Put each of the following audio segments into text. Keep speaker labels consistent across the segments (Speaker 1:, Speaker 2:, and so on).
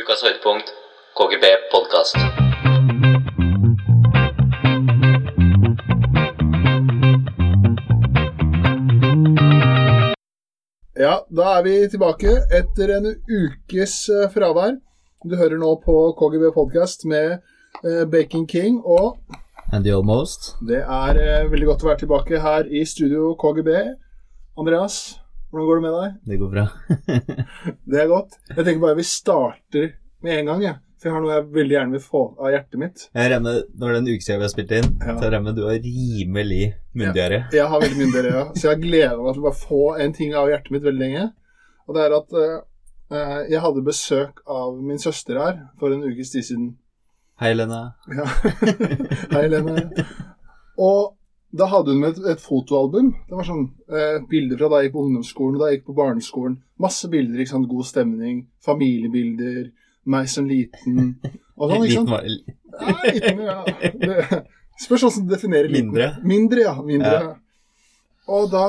Speaker 1: Ukas høydepunkt KGB podkast.
Speaker 2: Ja, da er vi tilbake etter en ukes eh, fravær. Du hører nå på KGB Podcast med eh, Bacon King, og
Speaker 3: And the almost.
Speaker 2: det er eh, veldig godt å være tilbake her i studio KGB. Andreas, hvordan går det med deg?
Speaker 3: Det går bra.
Speaker 2: Det er godt. Jeg tenker bare vi starter med en gang, jeg. For jeg har noe jeg veldig gjerne vil få av hjertet mitt.
Speaker 3: Jeg regner med, Når det er en uke siden vi har spilt inn,
Speaker 2: Ja.
Speaker 3: så regner jeg med du er rimelig myndigere.
Speaker 2: Jeg har veldig mye dere, ja. så jeg gleder meg til å bare få en ting av hjertet mitt veldig lenge. Og det er at eh, eh, jeg hadde besøk av min søster her for en ukes tid siden.
Speaker 3: Hei, Lena.
Speaker 2: Ja. Hei, Helene. Og da hadde hun med et, et fotoalbum. Det var sånn eh, bilder fra da jeg gikk på ungdomsskolen, da jeg gikk på barneskolen. Masse bilder, ikke sant. God stemning. Familiebilder. Meg som liten. Og sånn, ikke
Speaker 3: Liten,
Speaker 2: sant.
Speaker 3: var-
Speaker 2: Ja, liten, ja. Det, spørs hvordan du definerer liten.
Speaker 3: Mindre.
Speaker 2: Mindre, ja. Mindre.
Speaker 3: Ja.
Speaker 2: Ja. Og da,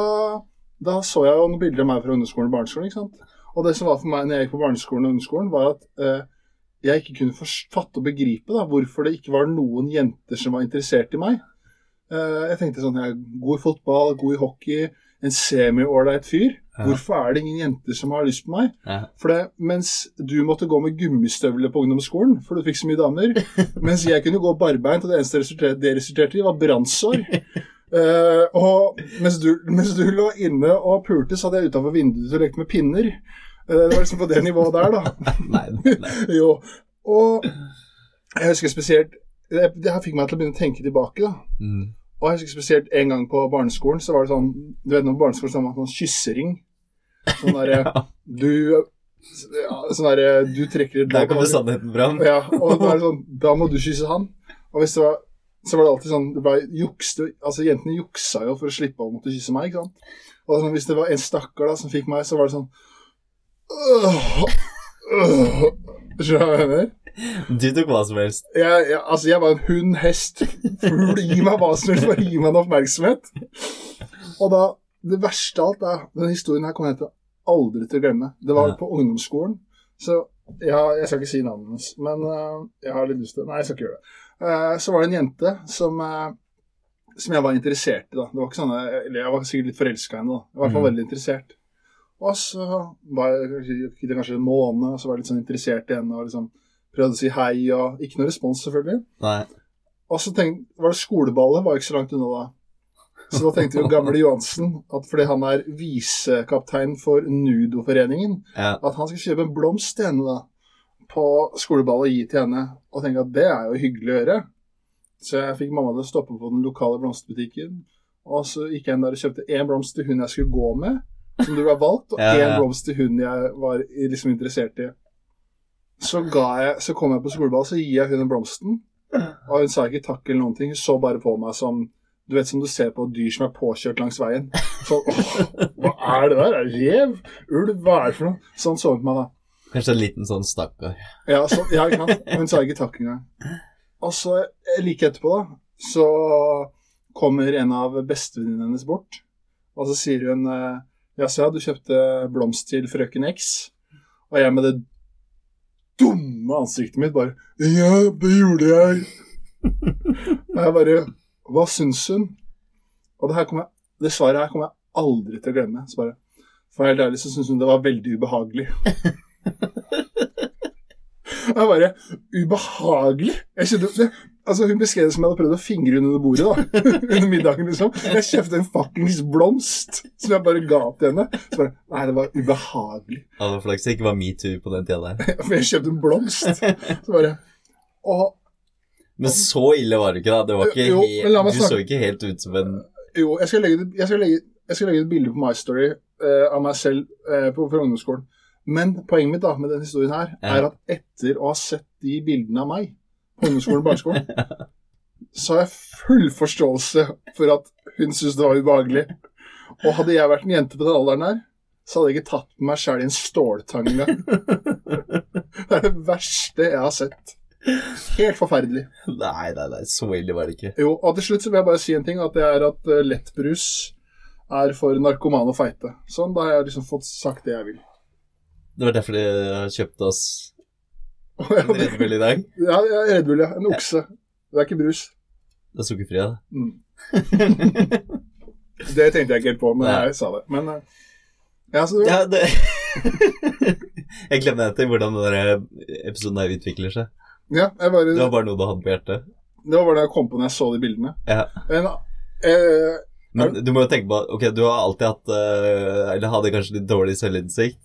Speaker 2: da så jeg jo noen bilder av meg fra underskolen og barneskolen. ikke sant? Og det som var for meg når jeg gikk på barneskolen og underskolen, var at eh, jeg ikke kunne forst- fatte og begripe da, hvorfor det ikke var noen jenter som var interessert i meg. Eh, jeg tenkte sånn Jeg er god i fotball, god i hockey, en semi-ålreit fyr.
Speaker 3: Ja.
Speaker 2: Hvorfor er det ingen jenter som har lyst på meg?
Speaker 3: ja.
Speaker 2: For det, mens du måtte gå med gummistøvler på ungdomsskolen, for du fikk så mye damer, mens jeg kunne gå barbeint, og det eneste resultat, det resulterte i, var brannsår. Eh, og mens du, mens du lå inne og pulte, så hadde jeg utafor vinduet og lekte med pinner. Eh, det var liksom på det nivået der, da
Speaker 3: Nei, nei.
Speaker 2: jo. Og jeg husker spesielt det, det her fikk meg til å begynne å tenke tilbake. da.
Speaker 3: Mm.
Speaker 2: Og jeg husker spesielt en gang på barneskolen, så var det sånn Du vet nå på barneskolen så har man sånn kyssering. Sånn derre Du ja, Sånn derre Du trekker et
Speaker 3: Der
Speaker 2: lag
Speaker 3: kom det
Speaker 2: over-
Speaker 3: sannheten fram.
Speaker 2: ja, og da er det sånn Da må du kysse han. Og hvis det var så var det alltid sånn det var juks, det, altså Jentene juksa jo for å slippe å måtte kysse meg. ikke sant? Og sånn, hvis det var en stakkar da som fikk meg, så var det sånn «Åh, åh». Skjønner du hva jeg mener?
Speaker 3: Du tok hva som helst.
Speaker 2: Jeg, jeg, altså, jeg var en hund, hest, fugl. Gi meg hva som helst, bare gi meg en oppmerksomhet. Og da, det verste av alt er Denne historien her kommer jeg til aldri til å glemme. Det var
Speaker 3: Ja.
Speaker 2: på ungdomsskolen. Så jeg, har- jeg skal ikke si navnet hennes, men øh, jeg har litt lyst til Nei, jeg skal ikke gjøre det. Eh, så var det en jente som, eh, som jeg var interessert i, da. Det var ikke sånn, eh, eller jeg var sikkert litt forelska i henne, da. Jeg var i hvert fall
Speaker 3: Mhm.
Speaker 2: veldig interessert. Og så var jeg gikk det kanskje en måned, og så var jeg litt sånn interessert i henne og liksom prøvde å si hei, og ikke noe respons, selvfølgelig.
Speaker 3: Nei.
Speaker 2: Og så tenkte, var det skoleballet, var jo ikke så langt unna da. Så da tenkte jo gamle Johansen at fordi han er visekaptein for Nudoforeningen,
Speaker 3: Ja.
Speaker 2: at han skal kjøpe en blomst til henne da, på skoleballet og gi til henne. Og tenkte at det er jo hyggelig å gjøre. Så jeg fikk mamma til å stoppe på den lokale blomsterbutikken. Og så gikk jeg inn der og kjøpte én blomst til hun jeg skulle gå med, som du har valgt, og
Speaker 3: Ja,
Speaker 2: én
Speaker 3: ja.
Speaker 2: blomst til hun jeg var i- liksom interessert i. Så, ga jeg, så kom jeg på skoleballet, så gir jeg hun den blomsten. Og hun sa ikke takk eller noen ting. Hun så bare på meg som du vet som du ser på dyr som er påkjørt langs veien. Sånn, åh, hva er det der? Er det Rev? Ulv? Hva er det for noe? Sånn så hun på meg da.
Speaker 3: Kanskje en liten sånn stakkar.
Speaker 2: Ja, så, ja ikke sant? Og Hun sa ikke takk engang. Og så eh, like etterpå, da, så kommer en av bestevenninnene hennes bort. Og så sier hun eh, Ja, så ja, du kjøpte blomst til frøken X. Og jeg med det dumme ansiktet mitt bare Ja, det gjorde jeg. Og jeg bare Hva syns hun? Og det, her kommer jeg, det svaret her kommer jeg aldri til å glemme. Så bare, for å være helt ærlig så syns hun det var veldig ubehagelig. Det er bare ubehagelig. Jeg kjente, det, altså Hun beskrev det som jeg hadde prøvd å fingre henne under bordet. da, Under middagen, liksom. Jeg kjøpte en fuckings blomst som jeg bare ga til henne. Så bare, Nei, det var ubehagelig.
Speaker 3: Det var flaks det ikke var metoo på den tida der.
Speaker 2: For jeg kjøpte en blomst. Så bare, og
Speaker 3: Men så ille var det ikke, da. Det var ikke
Speaker 2: Jo, men la meg
Speaker 3: helt, du så
Speaker 2: snakke-
Speaker 3: ikke helt ut som en
Speaker 2: Jo, jeg skal legge, ut- jeg skal legge, jeg skal legge ut et bilde på My Story eh, av meg selv eh, på, fra ungdomsskolen. Men poenget mitt da, med denne historien her,
Speaker 3: Ja.
Speaker 2: er at etter å ha sett de bildene av meg på ungdomsskolen og barneskolen, så har jeg full forståelse for at hun syntes det var ubehagelig. Og hadde jeg vært en jente på den alderen her, så hadde jeg ikke tatt med meg sjæl i en ståltang engang. Det er det verste jeg har sett. Helt forferdelig.
Speaker 3: Nei, nei, nei. Så ille var det ikke.
Speaker 2: Jo, og til slutt så vil jeg bare si en ting, at det er at eh, lettbrus er for narkomane og feite. Sånn, da har jeg liksom fått sagt det jeg vil.
Speaker 3: Det var derfor de kjøpte oss En Red Bull i dag.
Speaker 2: Ja, ja, Red Bull, ja. En okse. Det er ikke brus.
Speaker 3: Det er sukkerfri, da.
Speaker 2: Mm. Det tenkte jeg ikke helt på, men
Speaker 3: Nei.
Speaker 2: jeg sa det. Men eh, ja, så det,
Speaker 3: Ja, det Jeg glemmer etter hvordan den der eh, episoden her utvikler seg.
Speaker 2: ja, jeg bare,
Speaker 3: Det var bare noe du hadde på hjertet.
Speaker 2: det var bare det jeg kom på når jeg så de bildene.
Speaker 3: Ja.
Speaker 2: En, eh,
Speaker 3: Men du må jo tenke på at ok, du har alltid hatt eh, Eller hadde kanskje litt dårlig selvinnsikt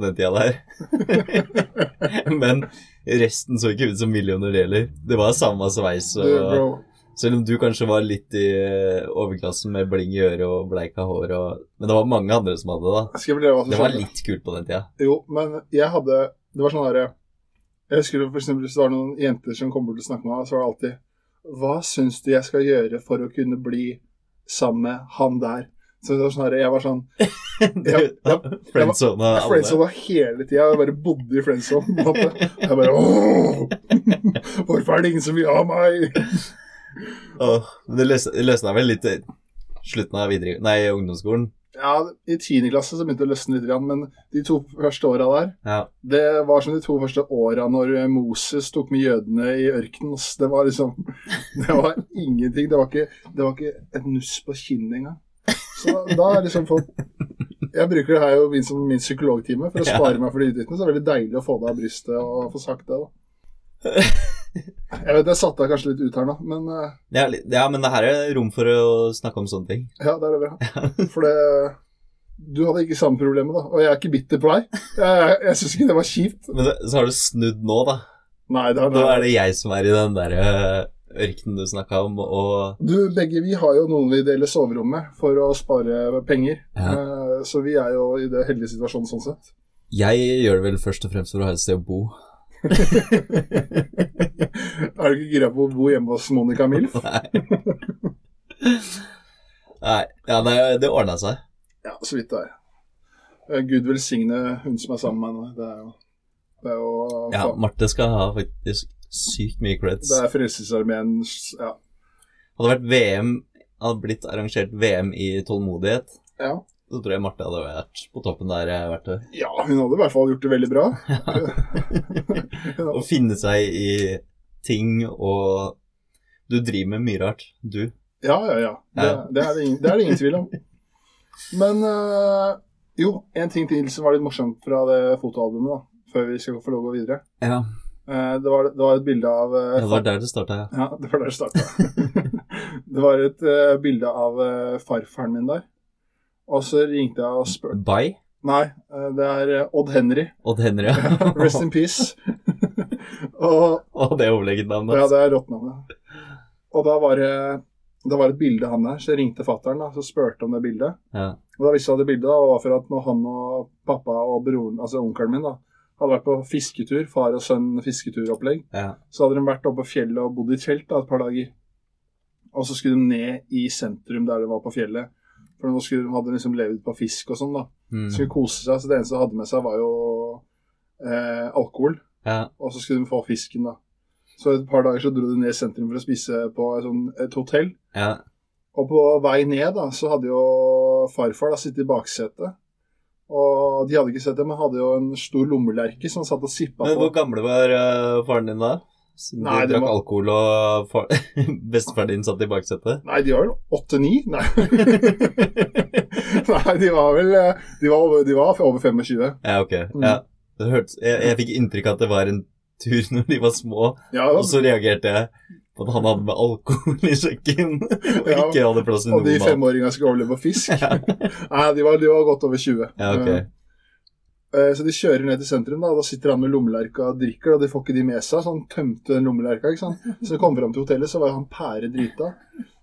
Speaker 3: på den tida der. Men resten så ikke ut som millioner heller. Det var samme sveis.
Speaker 2: du, bro,
Speaker 3: Og, selv om du kanskje var litt i eh, overklassen med bling i øret og bleika hår og Men det var mange andre som hadde det, da.
Speaker 2: skal jeg fortelle hva som
Speaker 3: Det var
Speaker 2: skjedde?
Speaker 3: litt kult på den tida.
Speaker 2: Jo, men jeg hadde Det var sånn derre Jeg husker for eksempel hvis det var noen jenter som kom bort og snakket med meg, så var det alltid Hva syns du jeg skal gjøre for å kunne bli sammen med han der? Så det var sånn herre Jeg var sånn Ja, ja.
Speaker 3: Friendzone
Speaker 2: Jeg
Speaker 3: alle.
Speaker 2: friendzona hele tida. Jeg bare bodde i friendzone. på en måte. Jeg bare åh! Hvorfor er det ingen som vil ha meg?
Speaker 3: Åh, men det løs- det løsna vel litt i slutten av videre, nei, ungdomsskolen.
Speaker 2: Ja, I 10. klasse så begynte det å løsne litt, grann, men de to første åra der
Speaker 3: Ja.
Speaker 2: Det var som de to første åra når Moses tok med jødene i ørkenen. ass. Det var liksom Det var ingenting. Det var ikke, det var ikke et nuss på kinnet engang. Så da, da er liksom folk Jeg bruker det her jo min- som min psykologtime for å spare meg for de utgiftene. Så det er veldig deilig å få det av brystet og få sagt det, da. Jeg vet jeg satte deg kanskje litt ut her nå, men eh,
Speaker 3: Ja, li- ja, men det her er rom for å snakke om sånne ting.
Speaker 2: ja, det er det bra. For det Du hadde ikke samme problemet, da. Og jeg er ikke bitter på deg. Jeg, jeg syns ikke det var kjipt.
Speaker 3: Men det, så har du snudd nå, da.
Speaker 2: Nei, det har
Speaker 3: Nå er det jeg som er i den der eh, ørkenen du snakka om, og
Speaker 2: Du, begge vi har jo noen vi deler soverom med for å spare penger. Eh, Så vi er jo i det heldige situasjonen sånn sett.
Speaker 3: jeg gjør det vel først og fremst for å ha et sted å bo.
Speaker 2: Er du ikke gira på å bo hjemme hos Monica Milf?
Speaker 3: Nei. Nei, ja, det, det ordna seg.
Speaker 2: Ja, så vidt det er. Eh, Gud velsigne hun som er sammen med henne. Det er jo, det er jo
Speaker 3: Ja,
Speaker 2: faen,
Speaker 3: Marte skal ha faktisk sykt mye creds.
Speaker 2: Det er Frelsesarmeens ja.
Speaker 3: Hadde vært VM, hadde blitt arrangert VM i tålmodighet,
Speaker 2: ja.
Speaker 3: så tror jeg Marte hadde vært på toppen der eh, hvert år.
Speaker 2: Ja, hun hadde i hvert fall gjort det veldig bra.
Speaker 3: Å finne seg i ting og Du driver med mye rart, du.
Speaker 2: Ja, ja, ja. Det,
Speaker 3: Ja.
Speaker 2: det, er, det, ingen, det er det ingen tvil om. Men eh, jo, en ting til som var litt morsomt fra det fotoalbumet, da, før vi skal få lov å gå videre.
Speaker 3: Ja,
Speaker 2: Eh, det, var, det var et bilde av eh,
Speaker 3: det var der det starta, ja.
Speaker 2: Ja, det var der det starta. det var et eh, bilde av eh, farfaren min der. Og så ringte jeg og spurte
Speaker 3: Bye,
Speaker 2: Nei, eh, det er eh, Odd Henry.
Speaker 3: Odd Henry. ja.
Speaker 2: Rest in peace. og
Speaker 3: Å, det er overlegget navn,
Speaker 2: ja,
Speaker 3: altså.
Speaker 2: det er rått navnet. Og da var det det var et bilde han der, så jeg ringte fattern og spurte om det bildet.
Speaker 3: Ja.
Speaker 2: Og da visste jeg det bildet da, var for at når han og pappa og broren, altså onkelen min, da, hadde vært på fisketur, far og sønn fisketuropplegg,
Speaker 3: Ja.
Speaker 2: så hadde de vært oppe på fjellet og bodd i telt da, et par dager. Og så skulle de ned i sentrum der de var på fjellet. For nå skulle de hadde liksom levd på fisk og sånn, da.
Speaker 3: Mm.
Speaker 2: Skulle kose seg, så det eneste de hadde med seg, var jo eh, alkohol.
Speaker 3: ja.
Speaker 2: Og så skulle de få fisken, da. Så et par dager så dro de ned i sentrum for å spise på et, sånn, et hotell.
Speaker 3: ja.
Speaker 2: Og på vei ned da, så hadde jo farfar da sittet i baksetet. Og de hadde ikke sett det, men hadde jo en stor lommelerke som han satt og sippa
Speaker 3: Men
Speaker 2: på.
Speaker 3: hvor gamle var eh, faren din da? Siden
Speaker 2: Nei,
Speaker 3: du
Speaker 2: det
Speaker 3: drakk
Speaker 2: var-
Speaker 3: alkohol, og far... bestefaren din satt i baksetet?
Speaker 2: Nei, de var vel åtte-ni? Nei. Nei, de var vel eh, De var over, de var over 25.
Speaker 3: Ja, ok.
Speaker 2: Mm.
Speaker 3: Ja. Det hørtes... jeg, jeg fikk inntrykk av at det var en tur når de var små,
Speaker 2: Ja,
Speaker 3: og så reagerte jeg på at han hadde med alkohol i kjøkken, og
Speaker 2: Ja.
Speaker 3: ikke hadde plass til
Speaker 2: og
Speaker 3: noe
Speaker 2: de
Speaker 3: mat.
Speaker 2: femåringene skulle overleve på fisk.
Speaker 3: Ja.
Speaker 2: Nei, de var, de var godt over 20.
Speaker 3: Ja, ok.
Speaker 2: Eh, Eh, Så de kjører ned til sentrum, da, og da sitter han med lommelerka og drikker, og de får ikke de med seg, så han tømte den lommelerka. ikke sant? Så de kom fram til hotellet, så var han pære drita.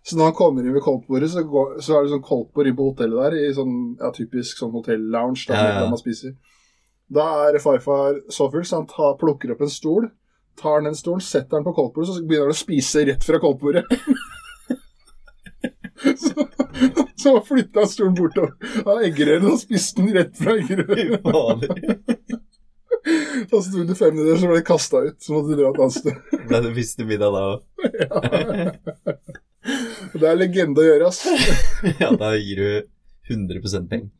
Speaker 2: Så når han kommer inn ved koldtbordet, så, går, så er det sånn koldtbord inn på hotellet der, i sånn ja, typisk sånn hotell-lounge, da,
Speaker 3: Ja, ja.
Speaker 2: der man spiser. Da er farfar så full, så han tar, plukker opp en stol, tar den stolen, setter den på koldtbordet, så begynner han å spise rett fra koldtbordet. så så flytta han stolen bortover av eggerøren og spiste den rett fra eggerøren.
Speaker 3: Fy fader.
Speaker 2: Og så tok det sånn fem minutter, så ble det kasta ut. Så måtte de dra et annet sted.
Speaker 3: Ble det første middag da òg?
Speaker 2: Og Det er legende å gjøre, ass.
Speaker 3: Ja, da gir du 100 penger.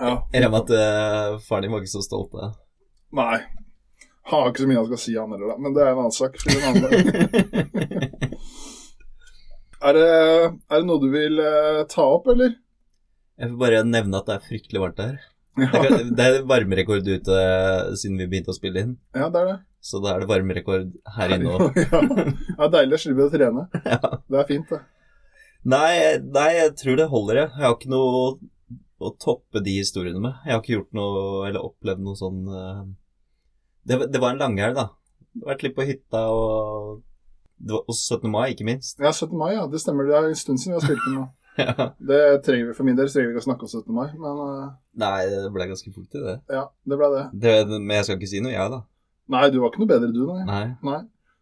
Speaker 2: Ja.
Speaker 3: Jeg regner med at eh, faren din var ikke så stolt av deg.
Speaker 2: Nei. Har ikke så mye jeg skal si han heller, da. Men det er en annen sak. Til en annen dag. er, det, er det noe du vil eh, ta opp, eller?
Speaker 3: Jeg får bare nevne at det er fryktelig varmt her. Det
Speaker 2: Ja,
Speaker 3: er- Det er varmerekord ute eh, siden vi begynte å spille inn,
Speaker 2: ja det er det.
Speaker 3: så da er det varmerekord her inne òg.
Speaker 2: ja. ja, deilig å slippe å trene. Det er fint, det.
Speaker 3: Nei, nei, jeg tror det holder, jeg. Jeg har ikke noe å toppe de historiene med. Jeg har ikke gjort noe, eller opplevd noe sånn eh, Det, det var en langhelg, da. Vært litt på hytta og det var, Og 17. mai, ikke minst.
Speaker 2: Ja, 17. mai, ja. Det stemmer. Det er en stund siden vi har spilt den nå.
Speaker 3: Ja.
Speaker 2: Det trenger vi For min del så trenger vi ikke å snakke om 17. mai, men eh,
Speaker 3: Nei, det ble ganske fort i det.
Speaker 2: ja, det ble det.
Speaker 3: det. Men jeg skal ikke si noe, jeg, da.
Speaker 2: Nei, du var ikke noe bedre, du, nei.
Speaker 3: Nei.
Speaker 2: Nei.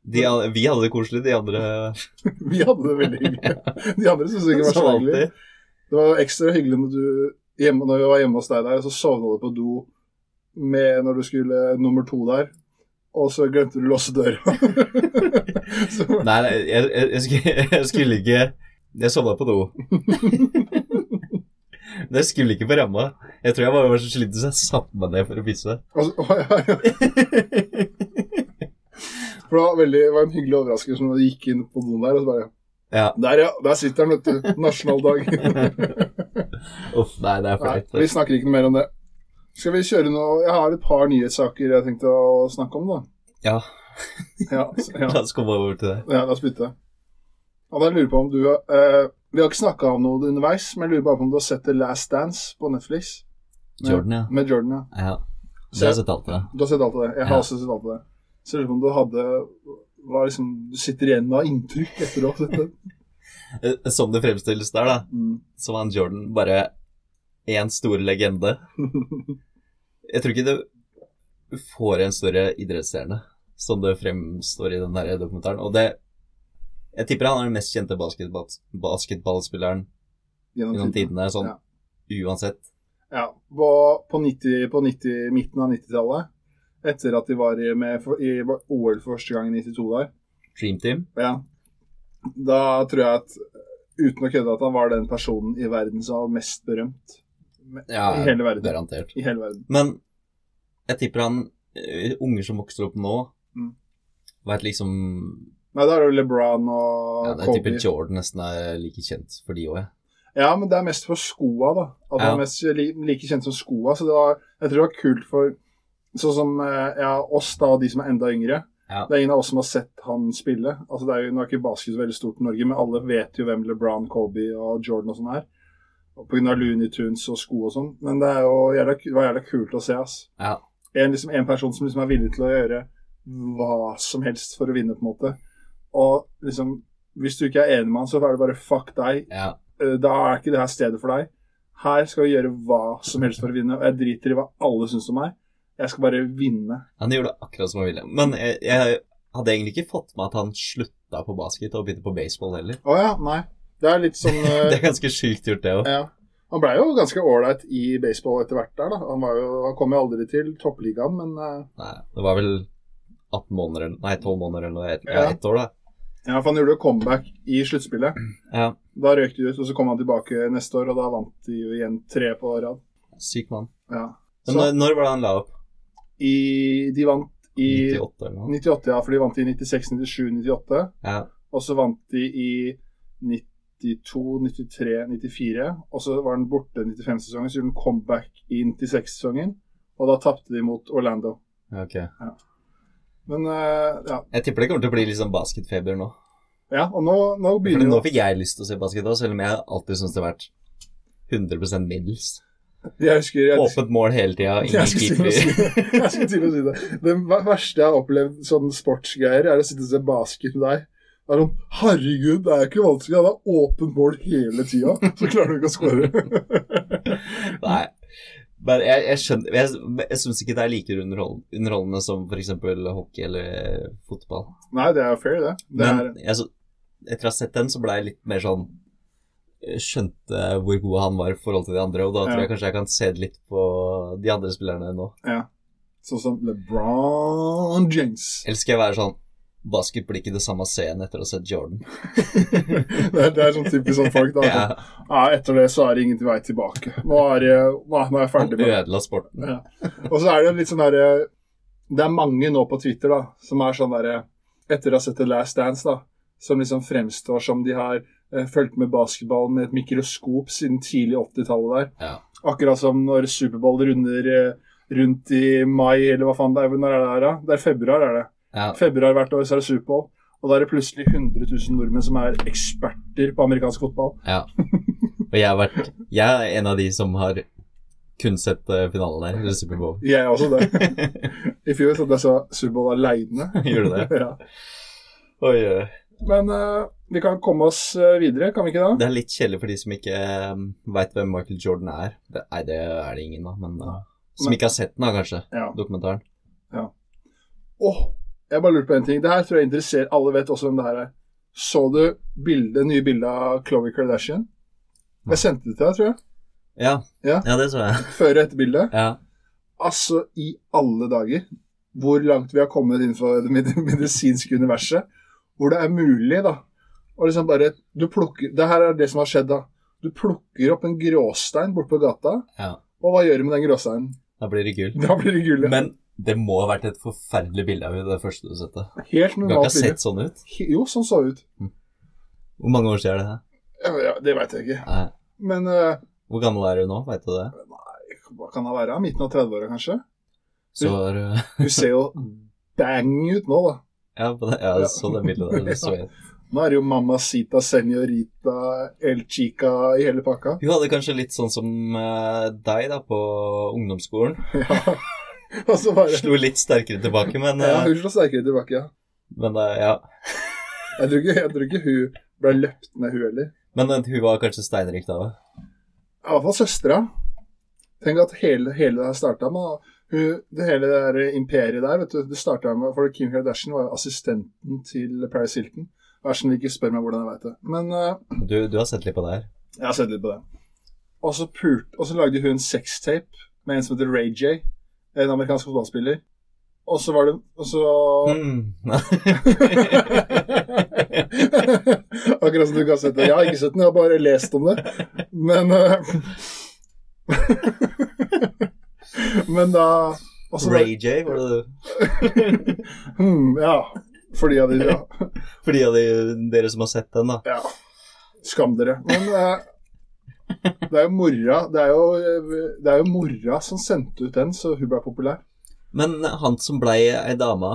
Speaker 3: De, an- vi hadde det koselig, de andre
Speaker 2: Vi hadde det veldig hyggelig. De andre syntes ikke det var så
Speaker 3: som
Speaker 2: hyggelig.
Speaker 3: alltid.
Speaker 2: Det var ekstra hyggelig når, du, hjemme, når jeg var hjemme hos deg der, så sovna du på do med, når du skulle nummer to der, og så glemte du å låse døra. så,
Speaker 3: Nei, nei jeg, jeg, jeg, skulle, jeg skulle ikke Jeg sovna på do. Men jeg skulle ikke på ramma. Jeg tror jeg bare var så sliten så jeg satte meg ned for å pisse.
Speaker 2: og, så- å, ja, ja. For det var, veldig, det var en hyggelig overraskelse når du gikk inn på doen der, og så bare
Speaker 3: Ja.
Speaker 2: Der, ja. Der sitter den, vet du. Nasjonaldag.
Speaker 3: Uff, nei, det er
Speaker 2: Nei,
Speaker 3: flaut.
Speaker 2: vi snakker ikke noe mer om det. Skal vi kjøre noe Jeg har et par nyhetssaker jeg tenkte å snakke om, da.
Speaker 3: Ja,
Speaker 2: Ja, s- ja.
Speaker 3: la oss komme over til det.
Speaker 2: Ja, la oss bytte. Og da lurer jeg på om du har eh, Vi har ikke snakka om noe underveis, men jeg lurer bare på om du har sett The Last Dance på Netflix? Med-
Speaker 3: Jordan, ja.
Speaker 2: Med Jordan, ja.
Speaker 3: ja. Det har jeg sett alt av.
Speaker 2: Du har sett alt av det. Jeg har
Speaker 3: Ja.
Speaker 2: også sett alt av det. Så jeg lurer på om du hadde hva liksom, Du sitter igjen med av inntrykk etter å ha sett det?
Speaker 3: Eh, Som det fremstilles der, da,
Speaker 2: Mm.
Speaker 3: så var han Jordan bare én stor legende. Jeg tror ikke det får en større idrettsstjerne som det fremstår i den der dokumentaren. Og det Jeg tipper han er den mest kjente basketball, basketballspilleren gjennom tidene, sånn
Speaker 2: Ja.
Speaker 3: uansett.
Speaker 2: Ja, på, på, 90, på 90, midten av 90-tallet, etter at de var i, med, for- i OL for første gang i 92 der,
Speaker 3: Dream Team.
Speaker 2: Ja. Da tror jeg at uten å kødde at han var den personen i verden som var mest berømt. Me- I hele verden.
Speaker 3: Garantert.
Speaker 2: I hele verden.
Speaker 3: Men jeg tipper han eh, Unger som vokser opp nå,
Speaker 2: Mm.
Speaker 3: vet liksom
Speaker 2: Nei, da er det jo LeBron og
Speaker 3: ja, det er
Speaker 2: Kobe.
Speaker 3: tipper Jordan nesten er like kjent for de òg, jeg.
Speaker 2: Ja, men det er mest for skoa, da. At han
Speaker 3: Ja.
Speaker 2: er mest li like kjent som skoa. Så det var, jeg tror det var kult for sånn som eh, ja, oss, da, og de som er enda yngre.
Speaker 3: Ja.
Speaker 2: Det er ingen av oss som har sett han spille. Altså, det er jo, nå er ikke basket så veldig stort i Norge, men alle vet jo hvem LeBron, Kobe og Jordan og sånn er. Og På grunn av Looney Tunes og sko og sånn. Men det, er jo jævla, ku- det var jævla kult å se, ass.
Speaker 3: Ja.
Speaker 2: En, liksom, en person som liksom er villig til å gjøre hva som helst for å vinne, på en måte. Og liksom, hvis du ikke er enig med han, så er det bare fuck deg.
Speaker 3: Ja.
Speaker 2: Eh, da er ikke det her stedet for deg. Her skal vi gjøre hva som helst for å vinne, og jeg driter i hva alle syns om meg. Jeg skal bare vinne.
Speaker 3: Han gjorde akkurat som han ville. Men jeg, jeg hadde egentlig ikke fått med at han slutta på basket og begynte på baseball heller.
Speaker 2: Å ja, nei. Det er litt sånn
Speaker 3: Det
Speaker 2: eh,
Speaker 3: er ganske sjukt gjort, det òg.
Speaker 2: ja. Han blei jo ganske ålreit i baseball etter hvert der, da. Han, var jo, han kom jo aldri til toppligaen, men eh,
Speaker 3: Nei, det var vel 18 måneder, eller- nei, 12 måneder eller noe, ett
Speaker 2: Ja.
Speaker 3: ja. ett år, da.
Speaker 2: ja, for han gjorde jo comeback i sluttspillet.
Speaker 3: Ja,
Speaker 2: Da røk de ut, og så kom han tilbake neste år, og da vant de jo igjen tre på rad.
Speaker 3: Syk mann.
Speaker 2: Ja.
Speaker 3: Men eh,
Speaker 2: Så-
Speaker 3: når, når var det han la opp?
Speaker 2: I, de vant i 98,
Speaker 3: 98 eller noe?
Speaker 2: ja, for de vant i 96, 97, 98.
Speaker 3: Ja.
Speaker 2: Og så vant de i 92, 93, 94. Og så var den borte 95-sesongen, så gjorde den comeback i 96-sesongen. Og da tapte de mot Orlando.
Speaker 3: Ok.
Speaker 2: Men eh, ja.
Speaker 3: Jeg tipper det kommer til å bli litt sånn basketfeber nå.
Speaker 2: ja. Og nå, nå
Speaker 3: Fordi
Speaker 2: begynner
Speaker 3: nå fikk jeg lyst til å se basket òg, selv om jeg alltid syns det har vært 100 middels.
Speaker 2: Jeg husker jeg,
Speaker 3: Åpent mål hele tida,
Speaker 2: jeg,
Speaker 3: ingen
Speaker 2: skulle til å si,
Speaker 3: keeper.
Speaker 2: jeg skulle til å si det. Det ver- verste jeg har opplevd sånn sportsgreier, er å sitte og se basket med deg. Det er sånn, Herregud, det er jo ikke vanskelig. Det er åpent mål hele tida. Så klarer du ikke å skåre.
Speaker 3: Nei. Men jeg, jeg skjønner Jeg, jeg syns ikke det er like underhold, underholdende som f.eks. hockey eller fotball.
Speaker 2: Nei, det er jo fair, det. det er,
Speaker 3: Men jeg, så, etter å ha sett den, så ble jeg litt mer sånn eh, Skjønte hvor god han var i forhold til de andre, og da tror
Speaker 2: Ja.
Speaker 3: jeg kanskje jeg kan se det litt på de andre spillerne nå.
Speaker 2: Sånn som LeBron James.
Speaker 3: Eller skal jeg være sånn Basket blir ikke det samme scenen etter å ha sett Jordan.
Speaker 2: det, er, det er sånn typisk sånn folk. da.
Speaker 3: Ja,
Speaker 2: Ja. etter det så er det ingen vei tilbake. Nå er jeg, nå er jeg
Speaker 3: han
Speaker 2: ferdig med det.
Speaker 3: ødela sporten.
Speaker 2: Ja. Og så er det litt sånn herre Det er mange nå på Twitter da, som er sånn derre Etter å ha sett The Last Dance, da, som liksom fremstår som de har eh, fulgt med basketball med et mikroskop siden tidlig 80-tallet der.
Speaker 3: Ja.
Speaker 2: Akkurat som når Superbowl runder eh, rundt i mai, eller hva faen det er. Når er det her, da? Det er februar, er det.
Speaker 3: Ja.
Speaker 2: Februar hvert år så er det Superbowl. Og da er det plutselig 100 000 nordmenn som er eksperter på amerikansk fotball.
Speaker 3: ja. Og jeg har vært Jeg er en av de som har kun sett eh, finalen der, eller Superbowl.
Speaker 2: Jeg er også det. I fjor satt jeg så Superbowl aleine.
Speaker 3: Gjorde du det?
Speaker 2: Ja.
Speaker 3: Oi, oi.
Speaker 2: Men eh, vi kan komme oss eh, videre, kan vi ikke da?
Speaker 3: Det er litt kjedelig for de som ikke um, veit hvem Michael Jordan er. Det, nei, det er det ingen, da, men uh, Som
Speaker 2: Men-
Speaker 3: ikke har sett den, da, kanskje.
Speaker 2: Ja.
Speaker 3: Dokumentaren.
Speaker 2: Åh, jeg bare lurte på en ting. Det her tror jeg interesserer Alle vet også hvem det her er. Så du bildet, nye bildet av Khloe Kardashian? Jeg sendte det til deg, tror jeg.
Speaker 3: Ja.
Speaker 2: Ja.
Speaker 3: det så jeg.
Speaker 2: Før og etter bildet.
Speaker 3: Ja.
Speaker 2: Altså, i alle dager, hvor langt vi har kommet innenfor det med- medisinske universet, hvor det er mulig, da. Og liksom bare Du plukker Det her er det som har skjedd, da. Du plukker opp en gråstein borte på gata,
Speaker 3: ja.
Speaker 2: og hva gjør du med den gråsteinen?
Speaker 3: Da blir det gull.
Speaker 2: Da blir det gull. ja.
Speaker 3: Men det må ha vært et forferdelig bilde av henne, det første du sette.
Speaker 2: Helt
Speaker 3: Du har
Speaker 2: normalt
Speaker 3: ikke
Speaker 2: bilde.
Speaker 3: sett sånn ut?
Speaker 2: Jo, sånn så det ut.
Speaker 3: Hvor mange år siden er det her?
Speaker 2: Ja, ja, det veit jeg ikke.
Speaker 3: Nei.
Speaker 2: Men eh,
Speaker 3: Hvor gammel er du nå, veit du det?
Speaker 2: hva kan det være? Midten av 30-åra, kanskje?
Speaker 3: Så er du
Speaker 2: Hun ser jo bang ut nå, da.
Speaker 3: Ja, på det, ja, så det bildet der. det Så jeg.
Speaker 2: Nå er det jo Mamacita, Senorita, El Chica i hele pakka.
Speaker 3: Hun hadde kanskje litt sånn som eh, deg, da, på ungdomsskolen.
Speaker 2: Ja. Og så bare
Speaker 3: Slo litt sterkere tilbake, men,
Speaker 2: ja,
Speaker 3: eh,
Speaker 2: Hun slår sterkere tilbake, ja.
Speaker 3: men eh, ja.
Speaker 2: Jeg tror ikke, jeg tror ikke hun ble løpt ned, hun heller.
Speaker 3: Men eh, hun var kanskje steinrik da òg.
Speaker 2: I hvert fall søstera. Tenk at hele, hele det her starta med hun, Det hele det der imperiet der, vet du, det starta med For Kim Kardashian var jo assistenten til Paris Hilton. Vær så snill, ikke spør meg hvordan jeg veit det. Men eh,
Speaker 3: Du, du har sett litt på det her.
Speaker 2: Jeg har sett litt på det. Og så, pult, og så lagde hun sextape med en som heter Ray J, en amerikansk fotballspiller. Og så var det Og så
Speaker 3: Hmm.
Speaker 2: Akkurat som du ikke har sett det. Jeg har ikke sett den, jeg har bare lest om det. Men eh, Men da og så var-
Speaker 3: Ray J, var det du?
Speaker 2: Hmm, ja. For de av de, ja.
Speaker 3: For de av de- dere som har sett den, da.
Speaker 2: ja. Skam dere. Men eh, det er jo mora det er jo, det er jo mora som sendte ut den, så hun ble populær.
Speaker 3: Men han som blei ei dame,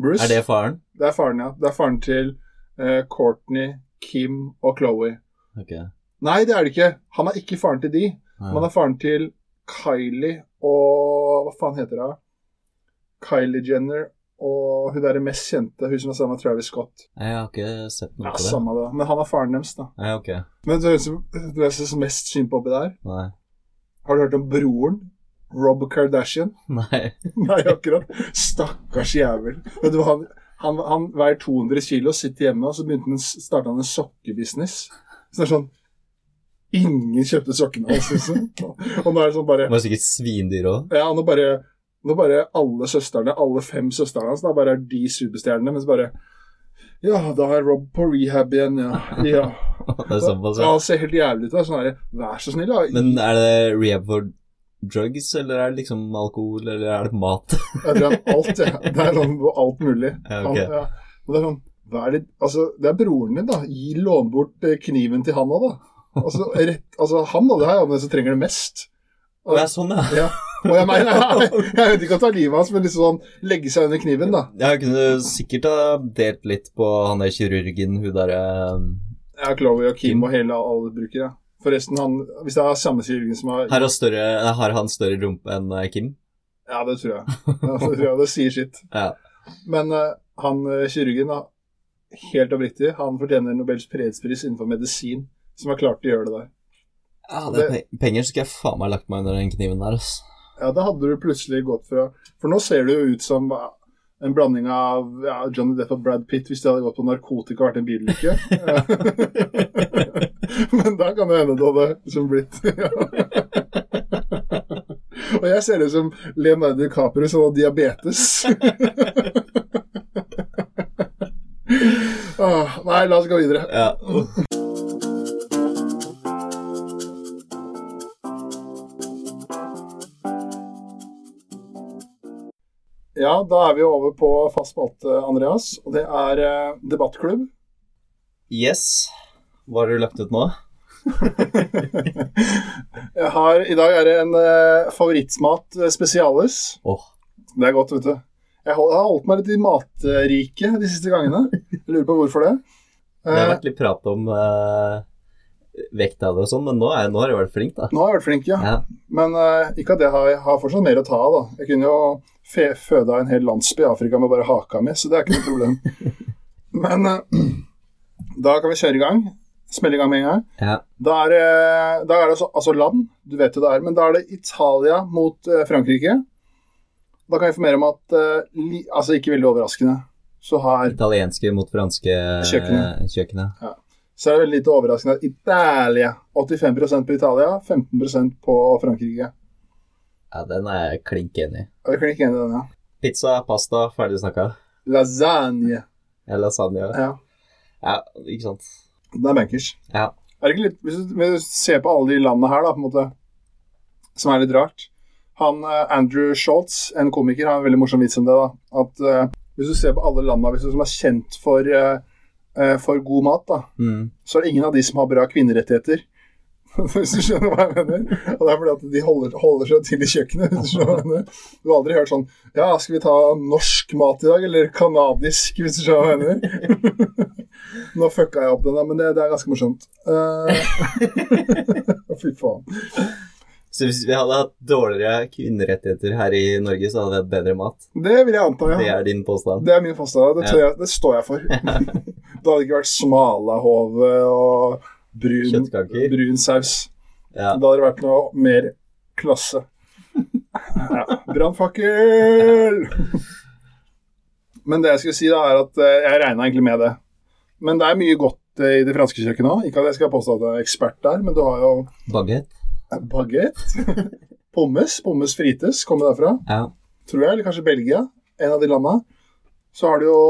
Speaker 2: Bruce.
Speaker 3: er det faren?
Speaker 2: Det er faren, ja. Det er faren til eh, Courtney, Kim og Chloé.
Speaker 3: Ok.
Speaker 2: Nei, det er det ikke. Han er ikke faren til de. Han
Speaker 3: Ja.
Speaker 2: er faren til Kylie og Hva faen heter hun? Kylie Jenner og hun derre mest kjente, hun som er sammen med Travis Scott.
Speaker 3: Jeg har ikke sett noe
Speaker 2: Ja,
Speaker 3: på det.
Speaker 2: samme det. Men han er faren deres, da.
Speaker 3: Nei, ok.
Speaker 2: Men du høres du høres som mest synd på oppi der.
Speaker 3: Nei.
Speaker 2: Har du hørt om broren? Rob Kardashian?
Speaker 3: Nei.
Speaker 2: Nei, akkurat. Stakkars jævel. Vet du hva, han, han, han veier 200 kilo, sitter hjemme, og så begynte han, starta han en sokkebusiness. Så det er sånn Ingen kjøpte sokkene hans, liksom. Og nå er det sånn bare
Speaker 3: Det var sikkert svindyr òg.
Speaker 2: Ja, nå bare Nå bare alle søstrene, alle fem søstrene hans, da bare er de superstjernene, mens bare Ja, da er Rob på rehab igjen, ja. ja.
Speaker 3: Det er såpass,
Speaker 2: Ja,
Speaker 3: ja.
Speaker 2: Han ser helt jævlig ut. da, Sånn der, Vær så snill, da.
Speaker 3: Men er det rehab for drugs, eller er det liksom alkohol, eller er det mat?
Speaker 2: Jeg tror han alt, ja. Det er sånn alt mulig.
Speaker 3: Ja,
Speaker 2: Han,
Speaker 3: ok.
Speaker 2: ja. Og det er sånn hva er det, altså, det er broren din, da. Gi lån bort eh, kniven til han òg, da. Altså, rett, altså, han da, det her er jo den som trenger det mest.
Speaker 3: Det er sånn, ja.
Speaker 2: Ja. Og jeg, mener, jeg, jeg vet ikke å ta livet av hans, men liksom sånn legge seg under kniven, da.
Speaker 3: Jeg kunne sikkert ha delt litt på han der eh, kirurgen, hun derre
Speaker 2: Ja, Chloé og Kim og hele alle brukere. Forresten, han, hvis det er samme kirurgen som har
Speaker 3: Har han større- har han større rumpe enn eh, Kim?
Speaker 2: Ja, det tror jeg. Ja, det, tror jeg, det sier sitt.
Speaker 3: Ja.
Speaker 2: Men eh, han eh, kirurgen, da, helt oppriktig, han fortjener Nobels fredspris innenfor medisin, som har klart å gjøre det der.
Speaker 3: Ja, det er pe penger skulle jeg faen meg lagt meg under den kniven der, altså. ass.
Speaker 2: Ja, da hadde du plutselig gått fra For nå ser det jo ut som eh, en blanding av ja, Johnny Depp og Brad Pitt hvis de hadde gått på narkotika og vært i en bilulykke. Men da kan det hende det hadde liksom blitt ja. Og jeg ser ut som Leonardo DiCaprio som har diabetes. ah, nei, la oss gå videre.
Speaker 3: Ja.
Speaker 2: Ja, da er vi over på fast spalte, Andreas. Og det er eh, debattklubb.
Speaker 3: Yes. Hva har du lagt ut nå?
Speaker 2: Jeg har, I dag er det en eh, favorittsmat eh, spesialis.
Speaker 3: Åh,
Speaker 2: Det er godt, vet du. Jeg hol- jeg har holdt meg litt i matriket de siste gangene. Jeg lurer på hvorfor det.
Speaker 3: Det har
Speaker 2: Eh,
Speaker 3: vært litt prat om eh, vekta og sånn, men nå, er, nå har jeg vært flink, da.
Speaker 2: nå har jeg vært flink, ja.
Speaker 3: Ja.
Speaker 2: Men eh, ikke at jeg har, jeg har fortsatt mer å ta av, da. Jeg kunne jo fe føda en hel landsby i Afrika med bare haka mi, så det er ikke noe problem. Men eh, da kan vi kjøre i gang. Smelle i gang med en gang.
Speaker 3: Ja.
Speaker 2: Da er, det- da er det altså, altså land, du vet jo det er, men da er det Italia mot eh, Frankrike. Da kan jeg informere om at, eh, li, altså ikke veldig overraskende, så har
Speaker 3: Italienske mot franske
Speaker 2: Kjøkkenet.
Speaker 3: kjøkkenet.
Speaker 2: så er det veldig lite overraskende at Italia 85 på Italia, 15 på Frankrike.
Speaker 3: Ja, den er jeg klink enig i.
Speaker 2: Er vi klikk enige i den, ja?
Speaker 3: Pizza, pasta, ferdig snakka.
Speaker 2: Lasagne.
Speaker 3: Eller lasagne.
Speaker 2: Ja,
Speaker 3: Ja, ikke sant.
Speaker 2: den er bankers.
Speaker 3: Ja.
Speaker 2: Er det ikke litt, hvis du, hvis du ser på alle de landene her, da, på en måte, som er litt rart Han, eh, Andrew Schultz, en komiker, har en veldig morsom vits om det. da, At eh, hvis du ser på alle landene hvis du, som er kjent for, eh, eh, for god mat, da,
Speaker 3: Mm.
Speaker 2: så er det ingen av de som har bra kvinnerettigheter. Hvis du skjønner hva jeg mener. Og det er fordi at de holder, holder seg til i kjøkkenet. Hvis du skjønner hva jeg mener. Du har aldri hørt sånn Ja, skal vi ta norsk mat i dag, eller kanadisk, hvis du skjønner hva jeg mener? Nå fucka jeg opp den, da, men det, det er ganske morsomt. Eh, Fy faen.
Speaker 3: Så hvis vi hadde hatt dårligere kvinnerettigheter her i Norge, så hadde vi hatt bedre mat.
Speaker 2: Det vil jeg anta,
Speaker 3: Det
Speaker 2: ja.
Speaker 3: er din påstand.
Speaker 2: Det er min påstand. Det, tør jeg, det står jeg for. Det hadde ikke vært smalahove og brun,
Speaker 3: Kjøttkaker.
Speaker 2: brun saus.
Speaker 3: Ja.
Speaker 2: Da hadde det vært noe mer klasse. Ja. Brannfakkel! Men det jeg skulle si, da, er at eh, jeg regna egentlig med det. Men det er mye godt eh, i det franske kjøkkenet òg. Ikke at jeg skal påstå at jeg er ekspert der, men du har jo
Speaker 3: Baguette.
Speaker 2: baguette, pommes, pommes frites, kommer derfra,
Speaker 3: Ja.
Speaker 2: tror jeg, eller kanskje Belgia, en av de landa. Så har du jo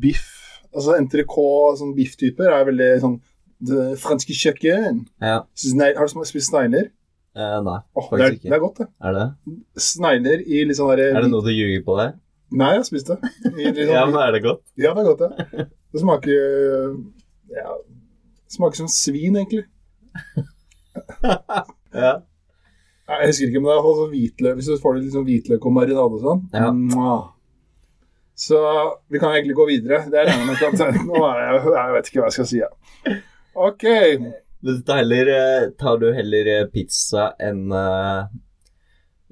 Speaker 2: biff. Altså entrecôte, sånn biff-typer, er veldig sånn Det franske kjøkken.
Speaker 3: ja.
Speaker 2: Snei- Har du sm- spist snegler?
Speaker 3: Eh, nei,
Speaker 2: Åh, det, er,
Speaker 3: faktisk
Speaker 2: det
Speaker 3: ikke.
Speaker 2: er godt, det.
Speaker 3: Er det?
Speaker 2: Snegler i litt sånn derre
Speaker 3: Er det noe du ljuger på der?
Speaker 2: Nei, jeg har spist det. I litt sånn...
Speaker 3: Ja,
Speaker 2: ja,
Speaker 3: men er det godt?
Speaker 2: det er godt, ja. Det smaker øh, ja, det Smaker som svin, egentlig.
Speaker 3: Ja.
Speaker 2: Nei, Jeg husker ikke, men det er sånn hvitløk Hvis du får litt sånn hvitløk og marinade og sånn
Speaker 3: Ja.
Speaker 2: Mwah. Så vi kan egentlig gå videre. Det regner jeg med ikke at Nå er jeg, jeg vet ikke hva jeg skal si, jeg. OK.
Speaker 3: Men du tar, heller, eh, tar du heller eh, pizza enn eh,